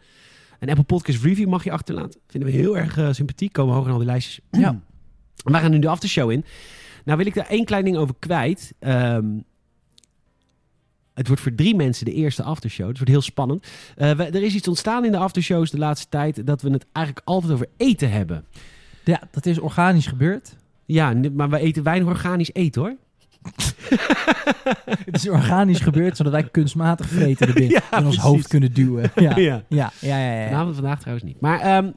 A: Een Apple Podcast Review mag je achterlaten. Vinden we heel erg eh, sympathiek. Komen hoog in al die lijstjes.
B: Ja.
A: We gaan nu de aftershow in. Nou wil ik daar één klein ding over kwijt. Ehm, het wordt voor drie mensen de eerste aftershow. Het wordt heel spannend. Eh, we- er is iets ontstaan in de aftershows de laatste tijd... dat we het eigenlijk altijd over eten hebben.
B: Ja, dat is organisch gebeurd.
A: Ja, n- maar we eten weinig organisch eten, hoor.
B: het is organisch gebeurd zodat wij kunstmatig vreten erin.
A: Ja,
B: in ons
A: precies.
B: hoofd kunnen duwen. Ja.
A: Ja. Nou,
B: Ja, ja, ja. ja,
A: Vanavond vandaag trouwens niet. Maar ehm,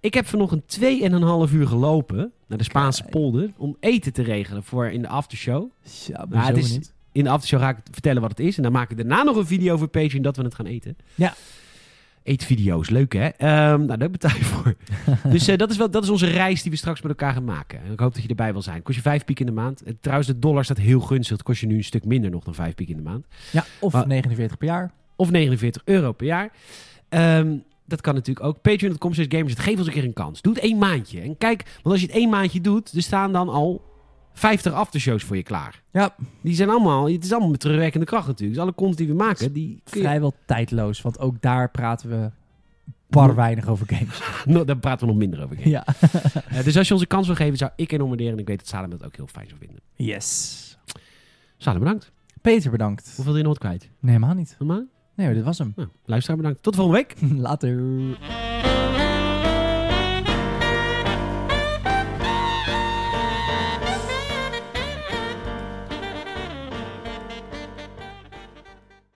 A: ik heb vanochtend tweeënhalf uur gelopen... naar de Spaanse
B: Kijk.
A: polder... om eten te regelen voor in de aftershow.
B: ja.
A: Maar nou, het
B: het
A: is- in de aftershow ga ik vertellen wat het is. En dan maak ik daarna nog een video voor Patreon dat we het gaan eten.
B: Ja.
A: Eetvideo's, leuk hè? Ehm, nou, daar betaal je voor. dus eh, dat, is wel, dat is onze reis die we straks met elkaar gaan maken. En ik hoop dat je erbij wil zijn. Kost je vijf piek in de maand. En trouwens, de dollar staat heel gunstig. Het kost je nu een stuk minder nog dan vijf piek in de maand.
B: ja, of
A: Maar-
B: 49 per jaar.
A: Of 49 euro per jaar. Ehm, dat kan natuurlijk ook. Patreon.com slash gamers. Het geeft ons een keer een kans. Doe het één maandje. En kijk, want als je het één maandje doet, er staan dan al 50 aftershows voor je klaar.
B: Ja,
A: Die zijn allemaal, het is allemaal met terugwerkende kracht natuurlijk. Dus alle content die we maken, die kun je-
B: vrijwel tijdloos. Want ook daar praten we bar weinig over games.
A: Nou, daar praten we nog minder over.
B: ja.
A: Eh, dus als je ons een kans wil geven, zou ik enorm waarderen. En ik weet dat Salem dat ook heel fijn zou vinden.
B: Yes.
A: Salem, bedankt.
B: Peter, bedankt.
A: Hoeveel wil je nog wat kwijt?
B: Nee, helemaal niet.
A: Normaal?
B: Nee, maar dit was hem.
A: Nou, luisteraar, bedankt. Tot volgende week.
B: Later.